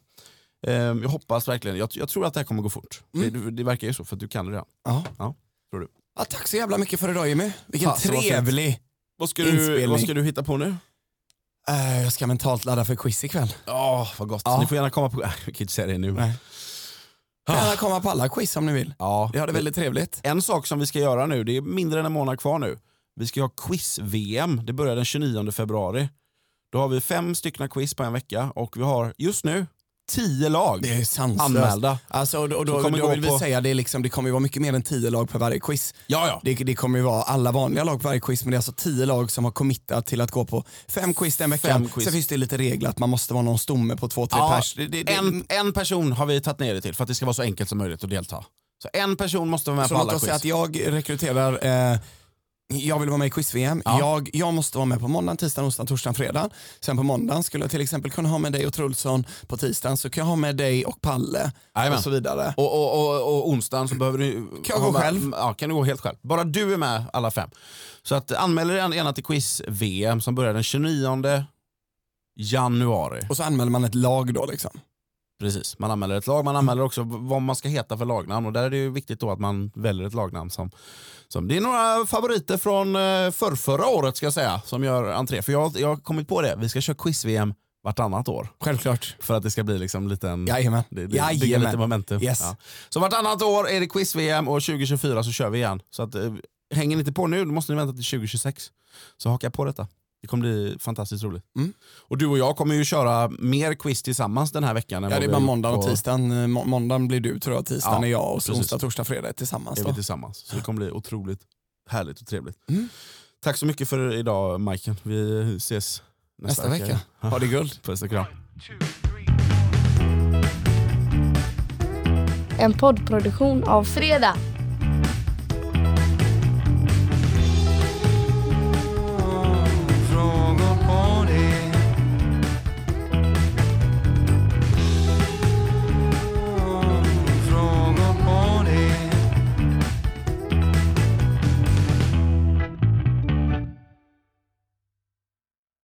Speaker 1: Ehm, jag hoppas verkligen, jag, jag tror att det här kommer gå fort. Det, det, det verkar ju så, för att du kan det redan.
Speaker 2: Ja.
Speaker 1: Ja, tror du.
Speaker 2: Ja, tack så jävla mycket för idag Jimmy. Vilken
Speaker 1: Fan, så vad fint.
Speaker 2: trevlig...
Speaker 1: Vad ska,
Speaker 2: du-
Speaker 1: du,
Speaker 2: vad
Speaker 1: vad
Speaker 2: ska
Speaker 1: ska du hitta på nu?
Speaker 2: Eh, jag ska mentalt ladda för quiz ikväll.
Speaker 1: Ja, vad gott.
Speaker 2: Ja.
Speaker 1: Ni får gärna komma på... (laughs) Äh, Jag kan inte säga det nu.
Speaker 2: Nej. Kan alla komma på alla quiz om ni vill.
Speaker 1: Ja,
Speaker 2: Vi har det väldigt trevligt.
Speaker 1: En sak som vi ska göra nu, det är mindre än en månad kvar nu. Vi ska ha quiz-VM, det börjar den 29 februari. Då har vi fem stycken quiz på en vecka och vi har just nu tio lag
Speaker 2: Det är ju sanslöst.
Speaker 1: anmälda.
Speaker 2: Alltså, och då, och
Speaker 1: Så
Speaker 2: då,
Speaker 1: kommer
Speaker 2: då
Speaker 1: gå
Speaker 2: vill vi
Speaker 1: på-
Speaker 2: säga det, är liksom, det kommer ju vara mycket mer än tio lag på varje quiz.
Speaker 1: Ja, ja.
Speaker 2: Det, det kommer ju vara alla vanliga lag på varje quiz men det är alltså tio lag som har committat till att gå på fem quiz den veckan.
Speaker 1: Fem quiz.
Speaker 2: Sen finns det lite regler att man måste vara någon stomme på två, tre
Speaker 1: Ja,
Speaker 2: pers. Det, det, det,
Speaker 1: en, en person har vi tagit ner det till för att det ska vara så enkelt som möjligt att delta. Så en person måste vara med
Speaker 2: så
Speaker 1: på
Speaker 2: låt
Speaker 1: alla
Speaker 2: oss
Speaker 1: quiz.
Speaker 2: säga att jag rekryterar eh, jag vill vara med i quiz-VM. Jag, jag måste vara med på måndag, tisdag, onsdag, torsdag, fredag. Sen på måndagen skulle jag till exempel kunna ha med dig och Trulsson. På tisdagen så kan jag ha med dig och Palle
Speaker 1: Jajamän.
Speaker 2: och så vidare.
Speaker 1: Och, och, och, och onsdagen så behöver du...
Speaker 2: jag
Speaker 1: ha
Speaker 2: gå
Speaker 1: med-
Speaker 2: själv?
Speaker 1: Ja, kan du gå helt själv. Bara du är med alla fem. Så att anmäl dig gärna till quiz-VM som börjar den 29 januari.
Speaker 2: Och så anmäler man ett lag då liksom.
Speaker 1: Precis, man anmäler ett lag, man anmäler också v- vad man ska heta för lagnamn och där är det ju viktigt då att man väljer ett lagnamn som, som det är några favoriter från eh, förrförra året ska jag säga som gör entré. För jag, har- jag har kommit på det, vi ska köra quiz-VM vartannat år
Speaker 2: Självklart.
Speaker 1: för att det ska bli liksom liten,
Speaker 2: Jajamän.
Speaker 1: det, det, bygga lite momentum.
Speaker 2: Yes.
Speaker 1: Så vartannat år är det quiz-VM och 2024 så kör vi igen. Så att, eh, hänger ni inte på nu, då måste ni vänta till 2026. Så haka på detta. Det kommer bli fantastiskt roligt.
Speaker 2: Mm.
Speaker 1: Och du och jag kommer ju köra mer quiz tillsammans den här veckan. än
Speaker 2: Ja
Speaker 1: vad
Speaker 2: det
Speaker 1: vi har
Speaker 2: är bara
Speaker 1: gjort
Speaker 2: måndagen och
Speaker 1: på-
Speaker 2: tisdagen. Eh, Må- Måndagen blir du tror jag, tisdagen
Speaker 1: Ja,
Speaker 2: är jag och så
Speaker 1: precis.
Speaker 2: onsdag, torsdag, fredag är tillsammans.
Speaker 1: är
Speaker 2: Då.
Speaker 1: vi tillsammans. Så det kommer bli otroligt härligt och trevligt.
Speaker 2: Mm.
Speaker 1: Tack så mycket för idag Majken. Vi ses
Speaker 2: nästa vecka. Ha det guld.
Speaker 1: Puss och kram.
Speaker 4: En poddproduktion av Fredag.